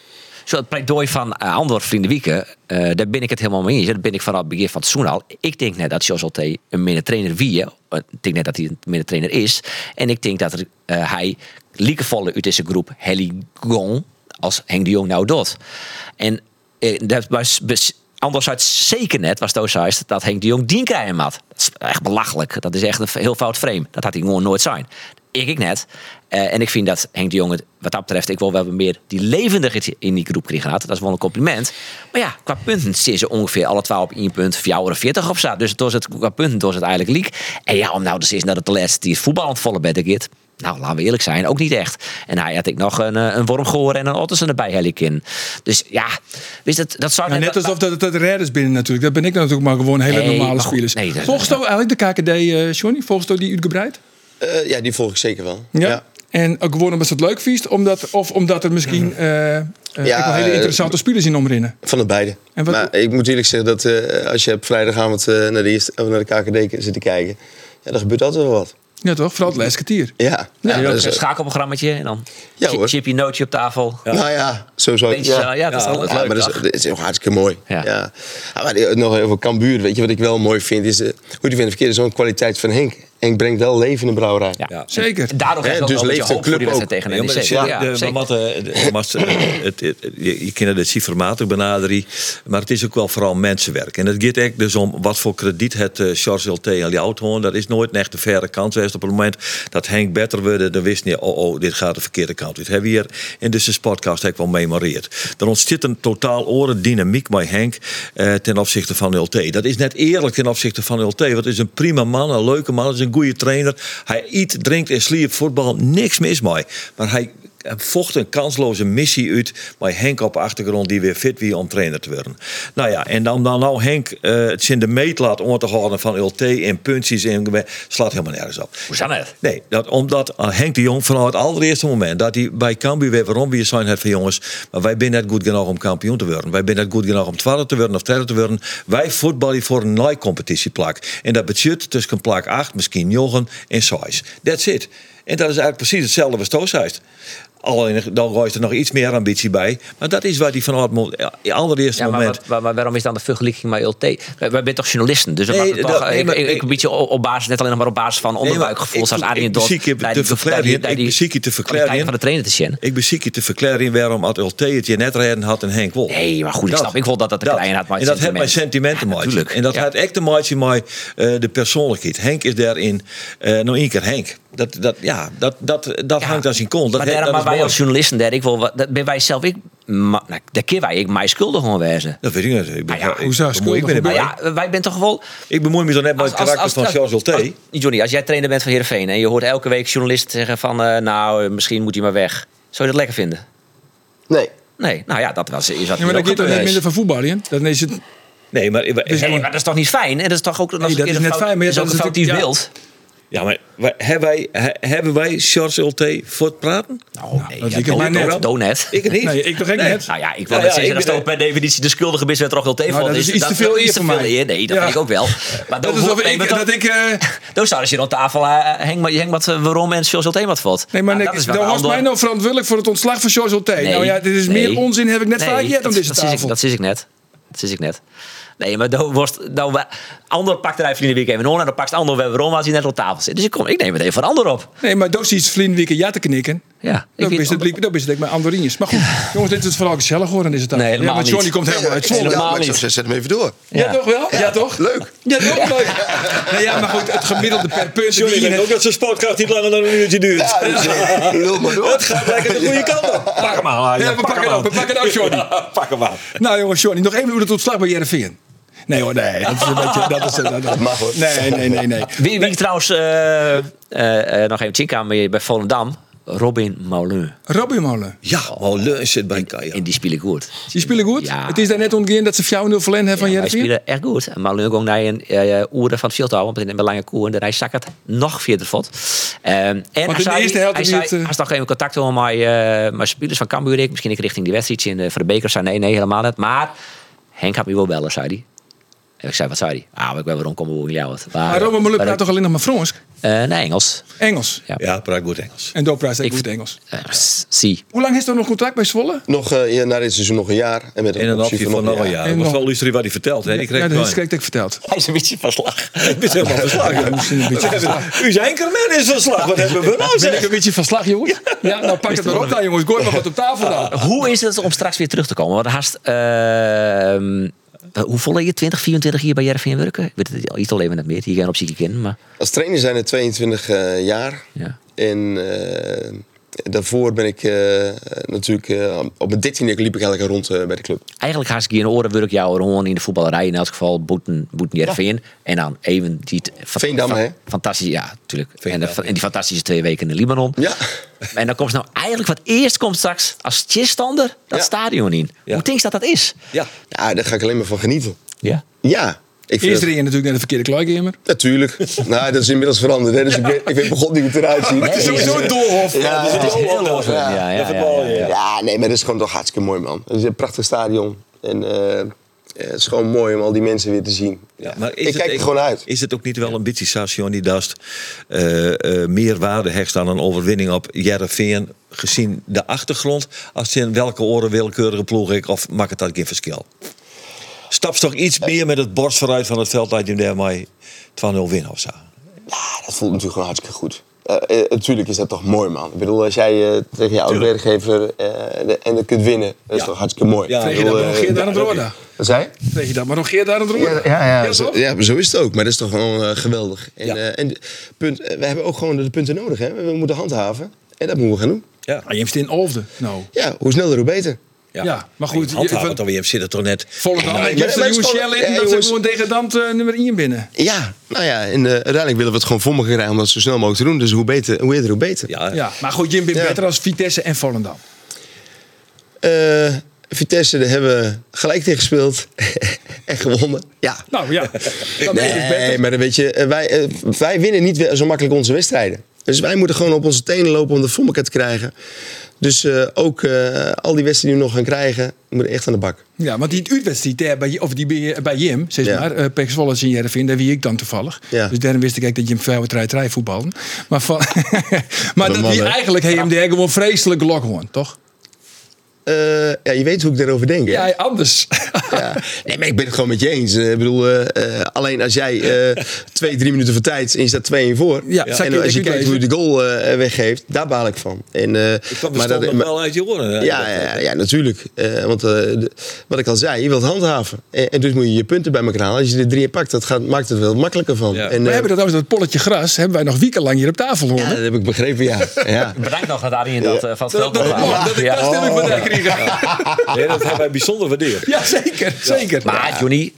S5: zo het pleidooi van eh, Andor Vrienden Wieken, eh, daar ben ik het helemaal mee eens. Daar ben ik vanaf het begin van het seizoen al. Ik denk net dat Jos Alté een minder trainer wie je. Ik denk net dat hij een minder trainer is. En ik denk dat er, eh, hij liekevolle uit deze groep Heli Gong als Henk de Jong nou doet. En eh, dat was... bes- Anders uit zeker net was het zei dat Henk de Jong dien krijgen had. Dat is echt belachelijk. Dat is echt een heel fout frame. Dat had hij gewoon nooit zijn. Ik, ik net. Eh, en ik vind dat Henk de Jong, het, wat dat betreft, ik wil wel wat meer die levendigheid in die groep kregen had. Dat is wel een compliment. Maar ja, qua punten zitten ze ongeveer alle 12 op 1 punt, 40 of zo. Dus het was het, qua punten was het eigenlijk leak. En ja, om nou dus eens naar de laatste die voetbal aan het vallen bent, ik het. Nou, laten we eerlijk zijn, ook niet echt. En hij had ik nog een, eh, een wormgoor en een Ottersen erbij, Helikin. Dus ja, wist het, dat zou
S1: Nou, net alsof dat het redders binnen natuurlijk. Dat ben ik natuurlijk maar gewoon hele
S5: Nee,
S1: normale
S5: maar goed,
S1: spelers.
S5: nee, dat-
S1: volgens jou eigenlijk de KKD, eh Johnny? Volgens jou die uitgebreid?
S7: Eh, ja, die volg ik zeker wel.
S1: Ja. En ook gewoon omdat ze het leuk viest. Omdat, of omdat er misschien eh, eh, ook wel hele
S7: eh,
S1: interessante spelers in omrinnen.
S7: Van de beide.
S1: En wat-
S7: maar ik moet eerlijk zeggen dat eh, als je op vrijdagavond eh, naar, de eerste, of naar de KKD zit te kijken, ja, dan gebeurt altijd wel wat.
S1: Ja toch? Vooral het laatste kwartier.
S7: Ja, ja, dus, eh,
S5: Ja,
S7: dat
S6: dus,
S5: een
S6: eh,
S7: is,
S5: schakelprogrammaatje en dan
S7: Ja,
S5: chi-
S7: hoor.
S5: chip je nootje op tafel.
S7: Nou ja, sowieso.
S5: Beetje,
S7: ja.
S5: eh, ja, dat is altijd
S7: Ja,
S5: leuk,
S7: maar dat is,
S5: toch?
S7: dat is ook hartstikke mooi.
S5: Ja.
S7: Ja. Ah, Maar die- nog even Cambuur, weet je wat ik wel mooi vind? Is, eh, hoe die van verkeerd is zo'n kwaliteit van Henk. Henk brengt wel leven in de brouwerij.
S5: Ja.
S1: Zeker.
S5: En daardoor
S7: Hè,
S5: geeft het
S7: dus
S5: ook wel een
S7: leeft de
S5: beetje hoop voor die
S7: club
S5: wedstrijd tegen
S6: Ja, maar
S5: NEC.
S6: zeker,
S5: Ja,
S6: de-
S5: zeker.
S6: maar wat, eh, de- maar het- het- het- je, je kent het cijfermatig benaderen, maar het is ook wel vooral mensenwerk. En het gaat echt dus om wat voor krediet het eh, Charles LT en Ljouwthoorn, dat is nooit een echte verre kant geweest. Op het moment dat Henk beter werd, dan wist hij, oh, oh, dit gaat de verkeerde kant uit. Hebben we hier in deze podcast ook wel memoreerd. Er ontstaat een totaal oren dynamiek bij Henk eh, ten opzichte van LT. Dat is net eerlijk ten opzichte van LT, want het is een prima man, een leuke man, het is een goede trainer. Hij eet, drinkt en sliept voetbal. Niks mis mee. Maar hij hij vocht een kansloze missie uit. Maar Henk op de achtergrond die weer fit wie om trainer te worden. Nou ja, en dan, dan nou Henk eh, het in de meet laat om te houden van LT en punties. En, slaat helemaal nergens op.
S5: Hoe is dat net?
S6: Nee, dat, omdat eh, Henk de Jong vanaf het allereerste moment dat hij bij Cambuur weer waarom weer zijn het van jongens, maar wij zijn net goed genoeg om kampioen te worden. Wij zijn net goed genoeg om twaalfde te worden of derde te worden. Wij voetballen voor een nieuwe competitieplak. En dat budget tussen plak 8, misschien 9 en 6. That's it. En dat is eigenlijk precies hetzelfde als Tooshuis. Alleen dan gooit er nog iets meer ambitie bij. Maar dat is wat hij vanaf het mo- eh, allereerste
S5: Ja, maar,
S6: moment.
S5: wat- waar- maar waarom is dan de vergelijking met LT? Wij, wij zijn toch journalisten, dus dat
S6: Nee,
S5: maakt het
S6: dat-
S5: toch,
S6: nee,
S5: ik,
S6: maar-
S5: ik, ik een beetje op op basis, net alleen nog maar op basis van onderbuikgevoel,
S6: ik-
S5: zoals
S6: ik-
S5: Arjen
S6: ik
S5: Dorp.
S6: bezie je
S5: bij die- bij
S6: te
S5: die-
S6: verklaren,
S5: bij
S6: ik
S5: die
S6: bezie je te
S5: kwaliteit
S6: verklaren.
S5: van de trainer te zien.
S6: Ik bezie je te verklaren waarom had LT het je net reden had en Henk Wol.
S5: Nee, maar goed, ik snap. Ik wil dat dat de kleine had, maar
S6: En
S5: het
S6: dat heeft mijn
S5: sentiment.
S6: sentimenten
S5: Ja,
S6: maatje.
S5: natuurlijk.
S6: En dat
S5: Ja.
S6: had echt te maatje met eh, de persoonlijkheid. Henk is daarin, eh nou één keer Henk. Dat, dat, ja, dat, dat, dat
S5: Ja.
S6: hangt aan zijn kont. Dat,
S5: maar
S6: he-
S5: daarom,
S6: dat
S5: maar wij
S6: is mooi.
S5: als journalisten, daar, ik wil, wat- dat ben wij zelf, ik, maar, nou, daar keer wij, ik mij schuldig gewoon wezen.
S6: Dat weet ik niet. Ik ben,
S5: Ah, ja,
S6: ik-
S5: hoezo
S6: ik bemoei- ik, ben
S5: Maar
S6: erbij.
S5: ja, wij ben toch wel...
S6: ik bemoei me zo net met het karakter van Charles
S5: als-
S6: Ulte.
S5: Johnny, als jij trainer bent van Heerenveen en je hoort elke week journalisten zeggen van... eh, nou, eh, misschien moet hij maar weg. Zou je dat lekker vinden?
S7: Nee.
S6: Ah,
S5: Nee, nou ja, dat was, is dat
S1: Ja, maar
S5: hier
S1: dan
S5: ook
S1: gaat het
S5: gebeurd.
S1: niet minder van voetbal, hè? Dan is het
S6: Nee, maar,
S5: Nee, maar dat is toch niet fijn? En dat is toch ook
S1: Nee, dat is net fijn, maar
S5: dat is
S1: dat
S5: ook
S1: is
S5: een foutief
S1: natuurlijk-
S5: beeld.
S6: ja, maar wij- hebben, wij, he- hebben wij Charles Ulte voor het praten?
S5: Nou, nee,
S1: dat
S5: ja,
S1: liep
S5: do-
S1: mij net.
S5: do- donet.
S6: Ik niet.
S1: Nee, ik toch ook net.
S5: Nou ja, ik wil
S6: Nou
S5: net
S6: ja,
S5: zeggen,
S6: ik
S5: dat
S6: ben-
S5: staat per definitie de schuldige is met Rogel Tevel.
S1: Nou, dat is iets te veel eer voor mij.
S5: Nee, dat
S1: Ja.
S5: vind ik ook wel. Maar
S1: Dat
S5: dan
S1: is alsof
S5: nee,
S1: ik-
S5: maar
S1: dat ik, eh,
S5: dan zouden ze hier aan tafel hang, hang wat eh, waarom en Charles Ulte wat valt.
S1: Nee, maar
S5: Nou,
S1: Nick,
S5: dat is wel
S1: dan
S5: een
S1: was
S5: ander-
S1: mij nou verantwoordelijk voor het ontslag van Charles Ulte.
S5: Nee,
S1: nou ja, dit is
S5: nee.
S1: meer onzin, heb ik net
S5: Nee,
S1: vaak gehad
S5: dat-
S1: om deze
S5: dat zie ik-
S1: tafel.
S5: Dat zie ik net. Dat zie ik net. Nee, maar dan wordt, nou, wa- ander pakt er even in de week even on en dan pakt de ander weer waarom als hij net op tafel zit. Dus ik, kom, ik neem het even van ander op.
S1: Nee, maar dat is iets vriendelijke ja te knikken.
S5: Ja, ik
S1: Dat
S5: weet-
S1: is het, blik- dat is het ik met Andorinjes. Maar goed, jongens, dit is het vooral gezellig hoor. Dan is het dan.
S5: Nee,
S1: ja,
S5: helemaal
S1: want Johnny
S5: niet.
S1: komt helemaal uit
S7: Ja,
S1: Zwolle.
S5: Helemaal
S7: maar ik zou
S5: niet.
S7: zeggen, Zet hem even door.
S1: Ja, toch wel? Ja, toch?
S7: Leuk.
S1: Ja, toch? Leuk. Nee, ja, maar goed, het gemiddelde per punt. die je
S6: Sorry, ik
S1: net-
S6: ook dat zijn sportkracht niet langer dan een uurtje duurt.
S7: Ja, dus, eh, lul maar door.
S6: Het gaat lekker de goede kant op. Pak hem aan,
S1: Ja, we pakken hem op, we pakken hem op, Johnny.
S6: Pak hem aan.
S1: Nou jongens, Johnny, nog even hoe dat ontslag bij Jereveen. Nee hoor, nee. Dat is een beetje... Dat is, dat, dat
S7: mag, hoor.
S1: Nee, nee, nee, nee.
S5: Wie, wie trouwens eh, eh, eh, nog even chink aan bij bij Volendam? Robin Moulin.
S1: Robin Molen,
S6: Ja, Molen zit bij Kaja.
S5: En die spelen goed.
S1: die spelen goed.
S5: Ja.
S1: Het is daar net ontgaan dat ze 4-0 verlen hebben van
S5: Hij
S1: Jereveen.
S5: speelde echt goed. En Moulin ging naar een eh oeren van het veld houden. Want in een lange koer. En daarna zak het nog verder vod. en hij
S1: de
S5: zei-
S1: eerste helft
S5: hij
S1: heb je
S5: zei,
S1: het, eh,
S5: hij is nog even contact over met, eh met spelers van Cambuur. Ik. Misschien ik richting die wedstrijd in de, voor de beker. zei nee, nee, helemaal niet. Maar Henk had me wel bellen, zei hij. En ik zei, wat zei hij? Ah, maar ik ben weer omkomen hoe jou het.
S1: Maar Robin Molen
S5: maar
S1: Ah, praat
S5: ik-
S1: toch alleen nog maar Frans?
S5: eh, nee, Engels.
S1: Engels.
S6: Ja, praat goed Engels.
S1: En Dopra is
S5: Ik-
S1: goed Engels.
S5: Eh, zie.
S1: Hoe lang is er nog contract bij Zwolle?
S7: Nog eh, ja, na dit seizoen nog een jaar. En met
S6: En een optie van nog een jaar. Dat was wel luisteren wat hij vertelt. hè? Die
S1: ja,
S6: kreeg
S1: dat is
S6: het
S1: kreeg ik verteld.
S5: Hij is een beetje van slag.
S6: Ik ben helemaal verslagen.
S1: Misschien een beetje van slag.
S6: U zijn kermen is verslag. Wat hebben we nou
S1: Ben ik
S6: zeg?
S1: een beetje van slag, jongens? Ja, nou pak het maar op dan, jongens. Gooi maar wat op tafel dan.
S5: Hoe is het om straks weer terug te komen? Want haast, ehm, hoe vol je 20, 24 hier bij Jervin werken? Ik weet het al- iets al even net meer. Hier gaan op zieke kennen, maar
S7: Als trainer zijn het 22 eh, jaar.
S5: ja.
S7: En eh, daarvoor ben ik eh, natuurlijk... eh, op mijn 13e liep ik eigenlijk rond eh, bij de club.
S5: Eigenlijk haast ik hier in oren werk jou gewoon in de voetballerij. In elk geval boeten, boeten Jervin. En dan even die... t- fa-
S7: Veendam,
S5: fa-
S7: hè?
S5: Fantastisch, ja, natuurlijk. En, de- en die fantastische twee weken in Libanon.
S7: Ja.
S5: En dan komt ze nou eigenlijk wat eerst komt straks als tjistander dat
S7: Ja.
S5: stadion in. Hoe denk je dat dat is?
S6: Ja.
S7: Ja, daar ga ik alleen maar van genieten.
S5: Ja.
S7: Ja. Ik vind
S1: Eerst
S7: het-
S1: ring je natuurlijk naar de verkeerde kluigamer.
S7: Natuurlijk. nou, dat is inmiddels veranderd. Hè? Dus ik, weet, ik weet begon niet hoe het eruit ziet.
S5: Het is
S1: Sowieso een doolhof.
S7: Ja,
S5: Het is heel los. Ja, ja, ja, ja, ja.
S7: Ja, nee, maar dat is gewoon toch hartstikke mooi, man. Het is een prachtig stadion. En eh, eh, het is gewoon mooi om al die mensen weer te zien. Ja.
S6: Maar is
S7: ik
S6: het-
S7: kijk er gewoon uit.
S6: Is het ook niet wel een beetje station die dast eh, eh, meer waarde hecht aan een overwinning op Jereveen gezien de achtergrond als in welke oren willekeurige ploeg ik of maakt het dat geen verschil? Stap toch iets meer met het borst vooruit van het veld dat je daarmee 2-0 winnen of zo?
S7: Ja, Ah, dat voelt natuurlijk gewoon hartstikke goed. Eh, eh, natuurlijk is dat toch mooi, man. Ik bedoel, als jij eh, tegen je oude werkgever eh, de- en dat kunt winnen, dat is toch hartstikke mooi.
S6: Ja.
S7: Ik
S1: Kreeg je
S7: bedoel,
S1: dat maar nog
S7: eh,
S1: Geert aan het roorden?
S7: Wat zei je?
S1: Kreeg je dat maar nog Geert aan het roorden?
S7: zo,
S1: toch?
S7: ja, zo is het ook. Maar dat is toch gewoon eh, geweldig. En,
S6: Ja.
S7: eh, en de- punt, eh, we hebben ook gewoon de punten nodig. Hè? We moeten handhaven. En dat moeten we gaan doen.
S6: Ja.
S1: Ah, Je hebt in Olde. Nou,
S7: Ja, hoe sneller, hoe beter.
S6: Ja,
S1: Ja, maar goed, je-
S6: Handhaven
S1: van-
S6: toch weer, zit het toch net.
S1: Volendam,
S7: maar-
S1: ik heb
S7: maar
S1: de
S7: het is
S1: nieuwe
S7: gewoon-
S1: Shell in, dus
S7: Ja,
S1: dat ze
S7: jongens.
S1: gewoon degradant eh, nummer 1 binnen.
S7: Ja, nou ja, en eh, uiteindelijk willen we het gewoon voor me krijgen om dat zo snel mogelijk te doen. Dus hoe, beter, hoe eerder, hoe beter.
S6: Ja,
S1: Ja, maar goed, Jim bent
S7: Ja.
S1: beter als Vitesse en Volendam.
S7: Eh, Vitesse, daar hebben we gelijk tegen gespeeld. en gewonnen. Ja.
S1: Nou ja, dat
S7: Nee,
S1: is dus beter.
S7: maar dan weet je, eh, wij, eh, wij winnen niet we- zo makkelijk onze wedstrijden. Dus wij moeten gewoon op onze tenen lopen om de Vommelket te krijgen. Dus eh, ook eh, al die wedstrijden die we nog gaan krijgen, moeten echt aan de bak.
S1: Ja, want die uitwedstrijd daar bij, of die bij, bij Jim, zeg
S7: Ja.
S1: maar, eh Pek Zwolle en Jereveen, daar wie ik dan toevallig.
S7: Ja.
S1: Dus daarom wist ik eigenlijk dat Jim Vrouwentrijdrij voetbalde. Maar, van, maar dat die
S7: mannen.
S1: eigenlijk heeft hem daar gewoon vreselijk lok gewoon, toch?
S7: Eh, ja, je weet hoe ik daarover denk. hè?
S1: Ja, anders.
S7: Ja. Nee, maar ik ben het gewoon met je eens. Eh, Ik bedoel, eh, eh, alleen als jij eh, twee, drie minuten voor tijd en je staat 2-1 voor.
S1: Ja, zou ik-
S7: en als je
S1: ik
S7: kijkt
S1: weet
S7: hoe je de goal eh, weggeeft, daar baal ik van. En, eh,
S6: dat maar dat, nog
S7: maar-
S6: wel uit je oren. hè?
S7: ja, ja, ja, ja, natuurlijk. Eh, want eh, de- wat ik al zei, je wilt handhaven. En, en dus moet je je punten bij elkaar halen. Als je er drie in pakt, dat gaat, maakt het wel makkelijker van.
S6: Ja.
S7: En,
S1: We
S7: eh,
S1: hebben dat over dat polletje gras, hebben wij nog wekenlang hier op tafel hoor.
S7: ja, dat heb ik begrepen, ja. ja.
S5: Bedankt nog dat Arjen dat eh, van het veld
S1: dat,
S5: nog
S1: dat,
S5: aan.
S1: dat ik
S5: Ja.
S1: dat stel ik me daar kreeg.
S6: Nee, dat hebben wij bijzonder waardeerd.
S1: Ja, zeker, zeker.
S5: Maar Johnny,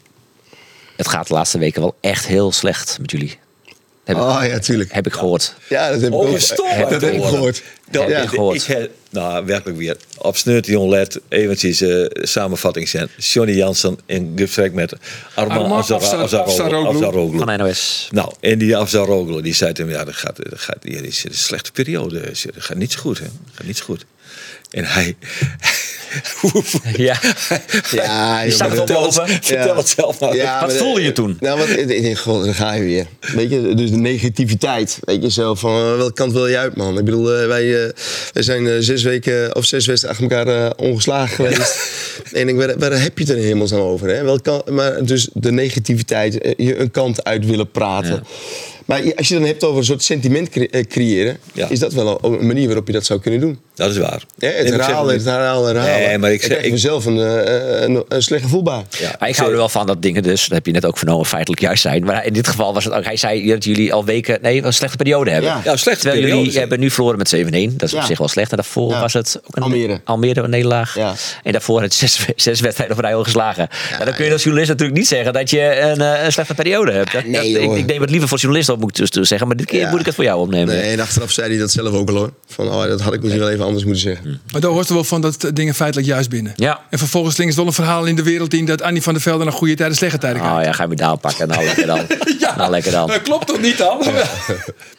S5: het gaat de laatste weken wel echt heel slecht met jullie. Heb ik,
S7: Oh ja, tuurlijk.
S5: heb ik gehoord.
S7: Ja, dat heb ik
S6: Oh,
S7: ook.
S6: je stom,
S7: dat heb ik
S6: hoor.
S7: gehoord.
S6: Dat
S7: Ja.
S6: ik, ik heb, nou, werkelijk weer. Op Sneurt Let, eventjes eh samenvatting zijn. Johnny Jansen in gesprek met Arman
S1: Arman Afsar-
S6: Afzaroglu.
S1: Afsaroglu.
S6: Afzaroglu.
S5: Van NOS.
S6: Nou, en die Afzaroglu, die zei tegen hem, ja, dat gaat, dat gaat, hier is een slechte periode. Dus, eh, Dat gaat niet zo goed, hè. Dat gaat niet zo goed. En hij...
S5: Ja.
S7: Ja,
S5: Je staat
S7: jongen.
S5: erop
S6: vertel, het,
S5: open.
S6: vertel het zelf maar.
S7: Ja,
S5: Wat
S7: maar,
S5: voelde je
S7: eh,
S5: toen?
S7: Nou, wat, ik denk, god, daar ga je weer. Weet je, dus de negativiteit. Weet je zo, van eh, welke kant wil je uit, man? Ik bedoel, eh, wij, eh, wij zijn eh, zes weken of zes wedstrijden achter elkaar eh, ongeslagen geweest. en ik denk, waar, waar heb je het er helemaal zo over? Hè? Welke kant- maar dus de negativiteit, eh, je een kant uit willen praten. Maar je- als je dan hebt over een soort sentiment cre- eh, creëren,
S6: Ja.
S7: is dat wel een, een manier waarop je dat zou kunnen doen.
S6: Dat is waar.
S7: Hè,
S6: Nee,
S7: het
S6: maar ik zeg
S7: herhalen,
S6: niet-
S7: het herhalen, herhalen.
S6: Nee, maar ik
S7: Dan
S6: zeg-
S7: krijg je
S6: ik-
S7: zelf een, eh, een, een slechte voelbaar.
S6: Ja,
S5: Maar ik hou er wel van dat dingen dus, dat heb je net ook vernomen, feitelijk juist zijn. Maar in dit geval was het ook, hij zei dat jullie al weken, nee, wel een slechte periode hebben.
S7: Ja. Ja,
S6: een slechte
S5: Terwijl
S6: periode
S5: jullie
S6: zijn.
S5: hebben nu verloren met 7-1, dat is op
S7: Ja.
S5: zich wel slecht. En daarvoor
S7: Ja.
S5: was het ook een
S7: Almere.
S5: Almere een nederlaag.
S7: Ja.
S5: En daarvoor het zes, zes wedstrijden op rij al geslagen. en dan kun je als journalist natuurlijk niet zeggen dat je een, eh, een slechte periode hebt. Dat-
S7: nee,
S5: dat- ik,
S7: hoor.
S5: ik neem het liever voor journalisten op, moet ik dus dus zeggen. Maar dit keer
S7: Ja.
S5: moet ik het voor jou opnemen.
S7: Nee, en eh, achteraf zei hij dat zelf ook al hoor. Van, oh, dat had ik misschien wel even anders moeten zeggen.
S1: Maar daar hoort er wel van dat eh, dingen feitelijk juist binnen.
S5: Ja.
S1: En vervolgens slingert wel een verhaal in de wereld in dat Annie van der Velde naar goede tijden slechte tijden
S5: Oh ja, ga je medaal pakken. Nou, lekker dan. Nou, lekker dan.
S1: Dat klopt toch niet dan?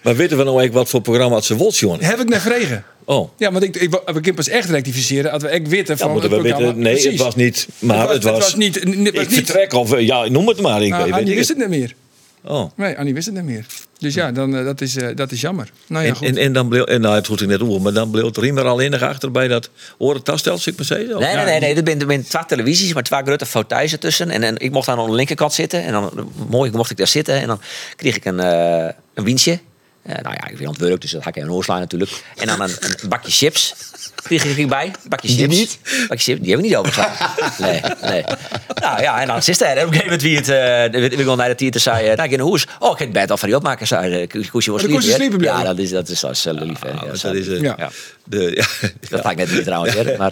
S6: Maar weten we nou eigenlijk wat voor programma het ze wilt, Johnny?
S1: Heb ik naar vregen.
S6: Oh.
S1: Ja, want ik, ik, we kunnen pas echt rectificeren als we echt weten
S6: Ja,
S1: van
S6: moeten
S1: het
S6: we weten.
S1: programma.
S6: Nee, het
S1: Precies.
S6: was niet. Maar het was,
S1: niet... n- het was
S6: ik
S1: niet-
S6: vertrek of eh, ja, noem het maar. Ik
S1: Nou,
S6: weet, weet
S1: Annie
S6: ik
S1: wist
S6: het.
S1: het niet meer.
S6: Oh.
S1: Nee, Annie wist het niet meer. Dus ja, dan, eh, dat, is, eh, dat is jammer. Nou ja,
S6: En,
S1: goed.
S6: en, en dan bleef, en nou, het goed ik net over, maar dan bleef er maar alleen nog achter bij dat orentastel, zeg ik maar zeggen.
S5: Nee, nee, nee, nee. Er zijn er zijn twee televisies, maar twee grote fauteuils ertussen. En, en ik mocht dan aan de linkerkant zitten. En dan mooi mocht ik daar zitten. En dan kreeg ik een, eh een wientje. Eh, nou ja, ik ben aan het werk, dus dat ga ik even oorslaan natuurlijk. En dan een, een bakje chips. Die kreeg ik bij. Bakje chips.
S7: niet?
S5: Bakje chips, die heb ik niet overgeslagen. Nee, nee. Nou ja, en dan zit hij. En op een gegeven moment wie het... eh, weet ik wel naar de tieten zei... eh, nou, ik in de hoes. Oh, ik heb het bed al van die opmaken. Zei de koesje was
S1: Oh, de koesje sliepen
S5: Ja,
S1: blijven.
S5: dat is, dat is, dat is eh, lief. hè. Ja,
S6: Ah,
S5: dat
S6: want
S5: is-
S6: dat is, eh,
S1: Ja.
S6: De, ja,
S5: dat ga ik net niet trouwens. hè, Maar,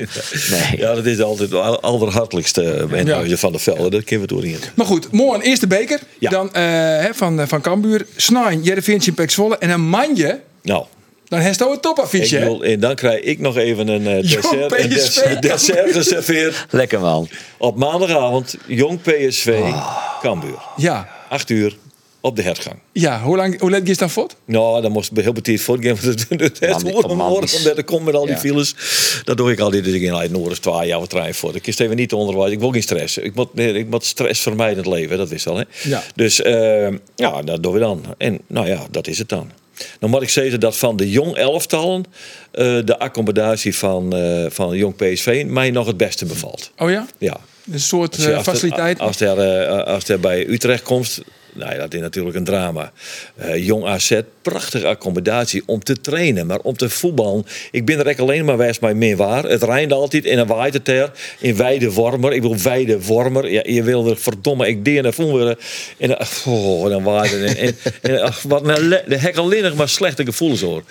S5: nee.
S6: ja, dat is altijd het al- allerhartelijkste bij
S1: Ja.
S6: van de velden. Dat kennen we toch niet.
S1: Maar goed, morgen eerst de beker.
S6: Ja.
S1: Dan eh, hè, van, eh, van Kambuur. Snijn, Jereveen, Pek Zwolle. En een manje,
S6: Nou,
S1: dan heeft hij een
S6: ik
S1: topaffiche. hè?
S6: wil, en dan krijg ik nog even een eh,
S1: Jong
S6: dessert, een
S1: PSV.
S6: des- dessert geserveerd
S5: Lekker man.
S6: op maandagavond. Jong PSV,
S1: Oh.
S6: Cambuur.
S1: Ja,
S6: 8 uur op de hertgang.
S1: ja. Hoe lang hoe laat is dan voort?
S6: Nou, dan moest ik heel betiert voortgaan. Want het dus is
S5: Man,
S6: hoor om
S5: man,
S6: horen
S5: is-
S6: omdat ik kom met al die
S5: Ja.
S6: files. Dat doe ik al dit. Dus ik in uit Noorders twee jaar trein voor. Ik is even niet onderwijs. Ik wil geen stress. Ik moet, nee, ik moet stress vermijdend leven. Dat wist al. Hè?
S1: Ja.
S6: Dus eh, ja, dat doen we dan. En nou ja, dat is het dan. Dan moet ik zeggen dat van de jong elftallen eh, de accommodatie van, eh, van jong PSV mij nog het beste bevalt.
S1: Oh ja?
S6: Ja.
S1: Een soort
S6: Als je-
S1: eh,
S6: als er-
S1: faciliteit.
S6: Als er, eh, als er bij Utrecht komt, nou ja, dat is natuurlijk een drama. Eh, Jong AZ, prachtige accommodatie om te trainen, maar om te voetballen. Ik ben er echt alleen maar wijs bij meer waar. Het rijnt altijd en dan waait het er. In Weide Wormer, ik wil Weide Wormer. Ja, je wil er verdomme, ik deer naar voren willen. En dan, oh, dan waait het. En, en, en, ach, wat een le- de hek alleen nog maar slechte gevoelens hoor.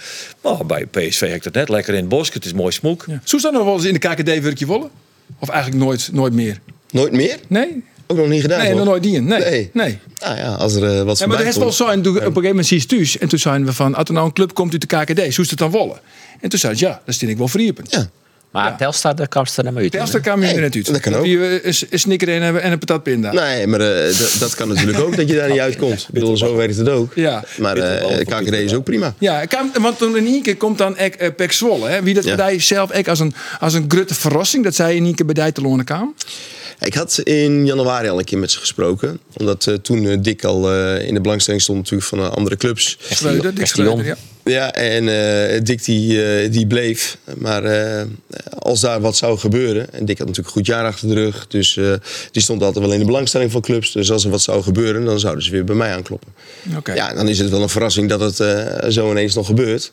S6: Maar bij PSV heb ik dat net lekker in het bos. Het is mooi smoek.
S1: Ja. Zoest dat nog wel eens in de KKD Wurkje Wolle? Of eigenlijk nooit, nooit meer?
S7: Nooit meer?
S1: Nee?
S7: Ook nog niet gedaan?
S1: Nee,
S7: toch?
S1: nog nooit die. Nee.
S7: Nee.
S1: nee.
S7: Nou ja, als er eh, wat
S1: Ja,
S7: van
S1: maar er
S7: mij
S1: is wel
S7: komt.
S1: zo. En toen- op een gegeven moment zie je het thuis. En toen zijn we van, als er nou een club komt uit de KKD, zoest het dan wollen? En toen zei ze, ja, dan stin ik wel veriepen.
S7: Ja.
S5: Maar Telstar, daar kwam ze er naar uit.
S1: Telstra kwam je
S7: Nee,
S1: er net uit. eh,
S7: dat kan ook.
S1: Die we een, een snicker in hebben en een patatpinda.
S7: Nee, maar eh, dat- dat kan natuurlijk ook dat je daar niet uitkomt. Ik bedoel, zo werkt het ook.
S1: Ja.
S7: Maar eh
S6: Bitterbal.
S7: KKD is ook prima.
S1: Ja, kan- want toen in één keer komt dan ek, eh, Pek Zwolle. Hè? Wie dat
S7: Ja.
S1: bij die zelf ek als een, als een grutte verrassing, dat zij in één keer bij die te lonen kwam.
S7: Ik had in januari al een keer met ze gesproken. Omdat eh, toen eh, Dick al eh, in de belangstelling stond natuurlijk van eh, andere clubs.
S1: Schreuder, Dick
S5: Castillon.
S1: Schreuder, ja.
S7: Ja, en eh, Dick die, eh, die bleef. Maar eh, als daar wat zou gebeuren... En Dick had natuurlijk een goed jaar achter de rug. Dus eh, die stond altijd wel in de belangstelling van clubs. Dus als er wat zou gebeuren, dan zouden ze weer bij mij aankloppen.
S1: Oké.
S7: Ja, dan is het wel een verrassing dat het eh, zo ineens nog gebeurt.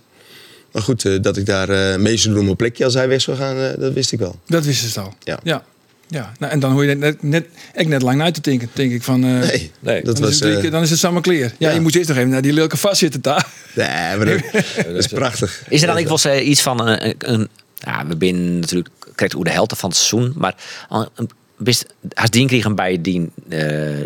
S7: Maar goed, eh, dat ik daar eh mee zou doen op mijn plekje als hij weg zou gaan, eh, dat wist ik wel.
S1: Dat wisten ze al.
S7: Ja.
S1: ja. Ja. Nou, en dan hoor je net, net, ik net lang uit te denken. denk ik van... eh,
S7: Nee,
S6: nee,
S7: dat
S1: dan, is
S7: was...
S1: het drie
S7: eh,
S1: keer- dan is het samen clear. Ja,
S7: ja.
S1: je moet eerst nog even naar die leuke vast zitten daar.
S7: nee, maar dat, dat is prachtig.
S5: Is er dan ik was eh, iets van een, een, een- ja, we binnen natuurlijk krijgt hoe de helft van het seizoen, maar al een- best, als die kregen bij die eh,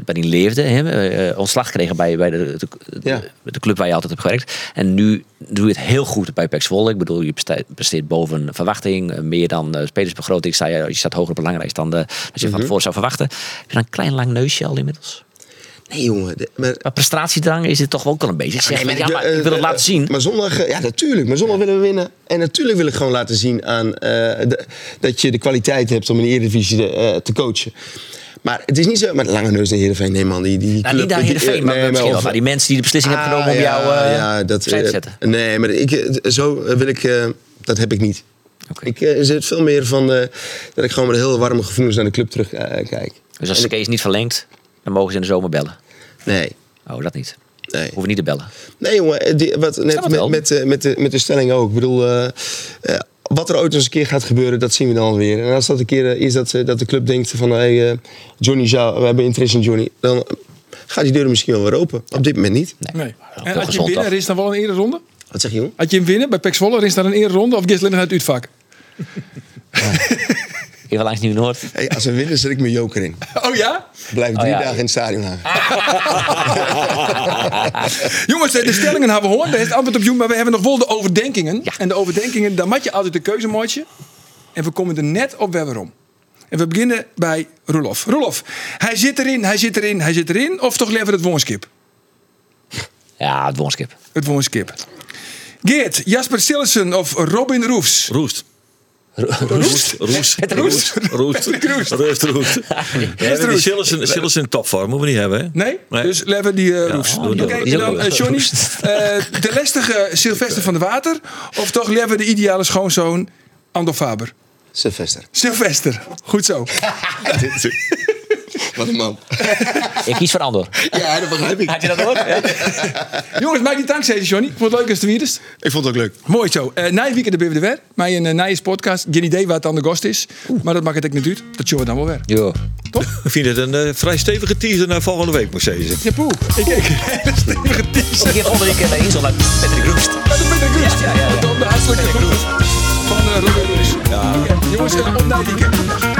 S5: bij die leefde, hè, eh, ontslag kregen bij, bij de, de,
S7: Ja.
S5: de club waar je altijd hebt gewerkt. En nu doe je het heel goed bij PEC Zwolle. Ik bedoel, je preste- presteert boven verwachting, eh, meer dan eh, spelersbegroting. Sta je, je staat hoger op het belangrijkste dan de, als je van tevoren zou verwachten. Heb je dan een klein lang neusje al inmiddels?
S7: Nee, jongen. de- maar,
S5: Maar prestatiedrang is het toch ook wel een beetje. Zeg, ja, maar ik wil het laten zien.
S7: eh, Maar zondag, eh, ja natuurlijk. Maar zondag willen we winnen. En natuurlijk wil ik gewoon laten zien aan, eh, de- dat je de kwaliteit hebt om in de Eredivisie de, eh, te coachen. Maar het is niet zo... Maar lange neus naar Heerenveen, nee man. Die, die, die
S5: Nou,
S7: club-
S5: niet naar
S7: die- eh,
S5: Heerenveen, maar,
S7: nee,
S5: misschien wel
S7: of-
S5: naar die mensen die de beslissing hebben genomen
S7: Ah,
S5: om jou eh
S7: ja, dat,
S5: opzij te
S7: eh,
S5: zetten.
S7: Nee, maar ik, eh, zo eh, wil ik... eh, dat heb ik niet.
S5: Oké.
S7: Ik eh, zit veel meer van eh, dat ik gewoon met heel warme gevoelens naar de club terug eh, kijk.
S5: Dus als de case niet verlengt, dan mogen ze in de zomer bellen.
S7: Nee,
S5: Oh, dat niet.
S7: nee.
S5: Hoeven niet te bellen.
S7: Nee, jongen, eh, die, wat net
S5: het
S7: met,
S5: wel.
S7: met, eh, met, de, met de stelling ook. Ik bedoel, eh, eh, wat er ooit eens een keer gaat gebeuren, dat zien we dan weer. En als dat een keer eh, is dat, eh, dat de club denkt van... Hey, eh, Johnny zou, we hebben interesse in Johnny. Dan gaat die deur misschien wel weer open. Op dit moment niet.
S1: Nee.
S5: Nou, heel
S1: En als je
S5: gezond,
S1: winnen,
S5: toch?
S1: er is dan wel een eerder ronde?
S7: Wat zeg je, jongen?
S1: Had je hem winnen bij Pek Zwolle, er is dan een eerder ronde? Of gisteren alleen naar het uitvak?
S5: Even langs Nieuw-Noord.
S7: Hey, als we winnen, zet ik mijn joker in.
S1: Oh ja?
S7: Blijf drie
S5: ja.
S7: dagen in het stadion hangen.
S1: Jongens, de stellingen hebben we gehoord. Daar is het antwoord op Joen. Maar we hebben nog wel de overdenkingen.
S5: Ja.
S1: En de overdenkingen, daar moet je altijd de keuze maken. En we komen er net op weer weer om. En we beginnen bij Roelof. Roelof, hij zit erin, hij zit erin, hij zit erin. Of toch liever het woonskip?
S5: Ja, het woonskip.
S1: Het woonskip. Geert, Jasper Sillissen of Robin Roefs?
S6: Roest. Roest. Roest.
S5: Het
S6: Roest.
S5: roest.
S6: Roest. Roest. Roest. Roest. We hebben die
S1: Roest.
S6: Sillessen- Sillessen in topvorm, moeten we niet hebben. hè?
S1: Nee?
S6: Nee.
S1: Dus liever die eh, Roefs.
S6: doe
S1: Oké,
S6: dat.
S1: en
S5: Die is ook
S1: dan
S5: wel.
S1: eh, Johnny. eh, de lastige Sylvester van de Water. Of toch liever de ideale schoonzoon Ando Faber?
S7: Sylvester.
S1: Sylvester, goed zo.
S7: Wat een man.
S5: Ik kies voor Andor.
S7: Ja, dat begrijp ik.
S5: Had je dat hoor?
S1: Jongens, maak die dankzij, Johnny. Vond het leuk als de wierders.
S7: Ik vond het ook leuk.
S1: Mooi zo. Eh na je weekend ben we er weer. Mijn een eh, Nijers podcast. Geen idee waar het aan de gast is. Maar dat maakt het ook niet uit. Dat zullen we dan wel weer.
S5: Jo.
S6: Ik vind het een eh, vrij stevige teaser naar volgende week, moet ik zeggen.
S1: Ja, poe. Ik kijk. Dat is niet meer diep.
S5: Ik heb onder een keer bij Insel naar Patrick Roest.
S1: Dat is Peter Kroes. Ja, ja, ja. Hartstikke goed. Van eh Robin Roos. Jongens, eh, op naar het weekend.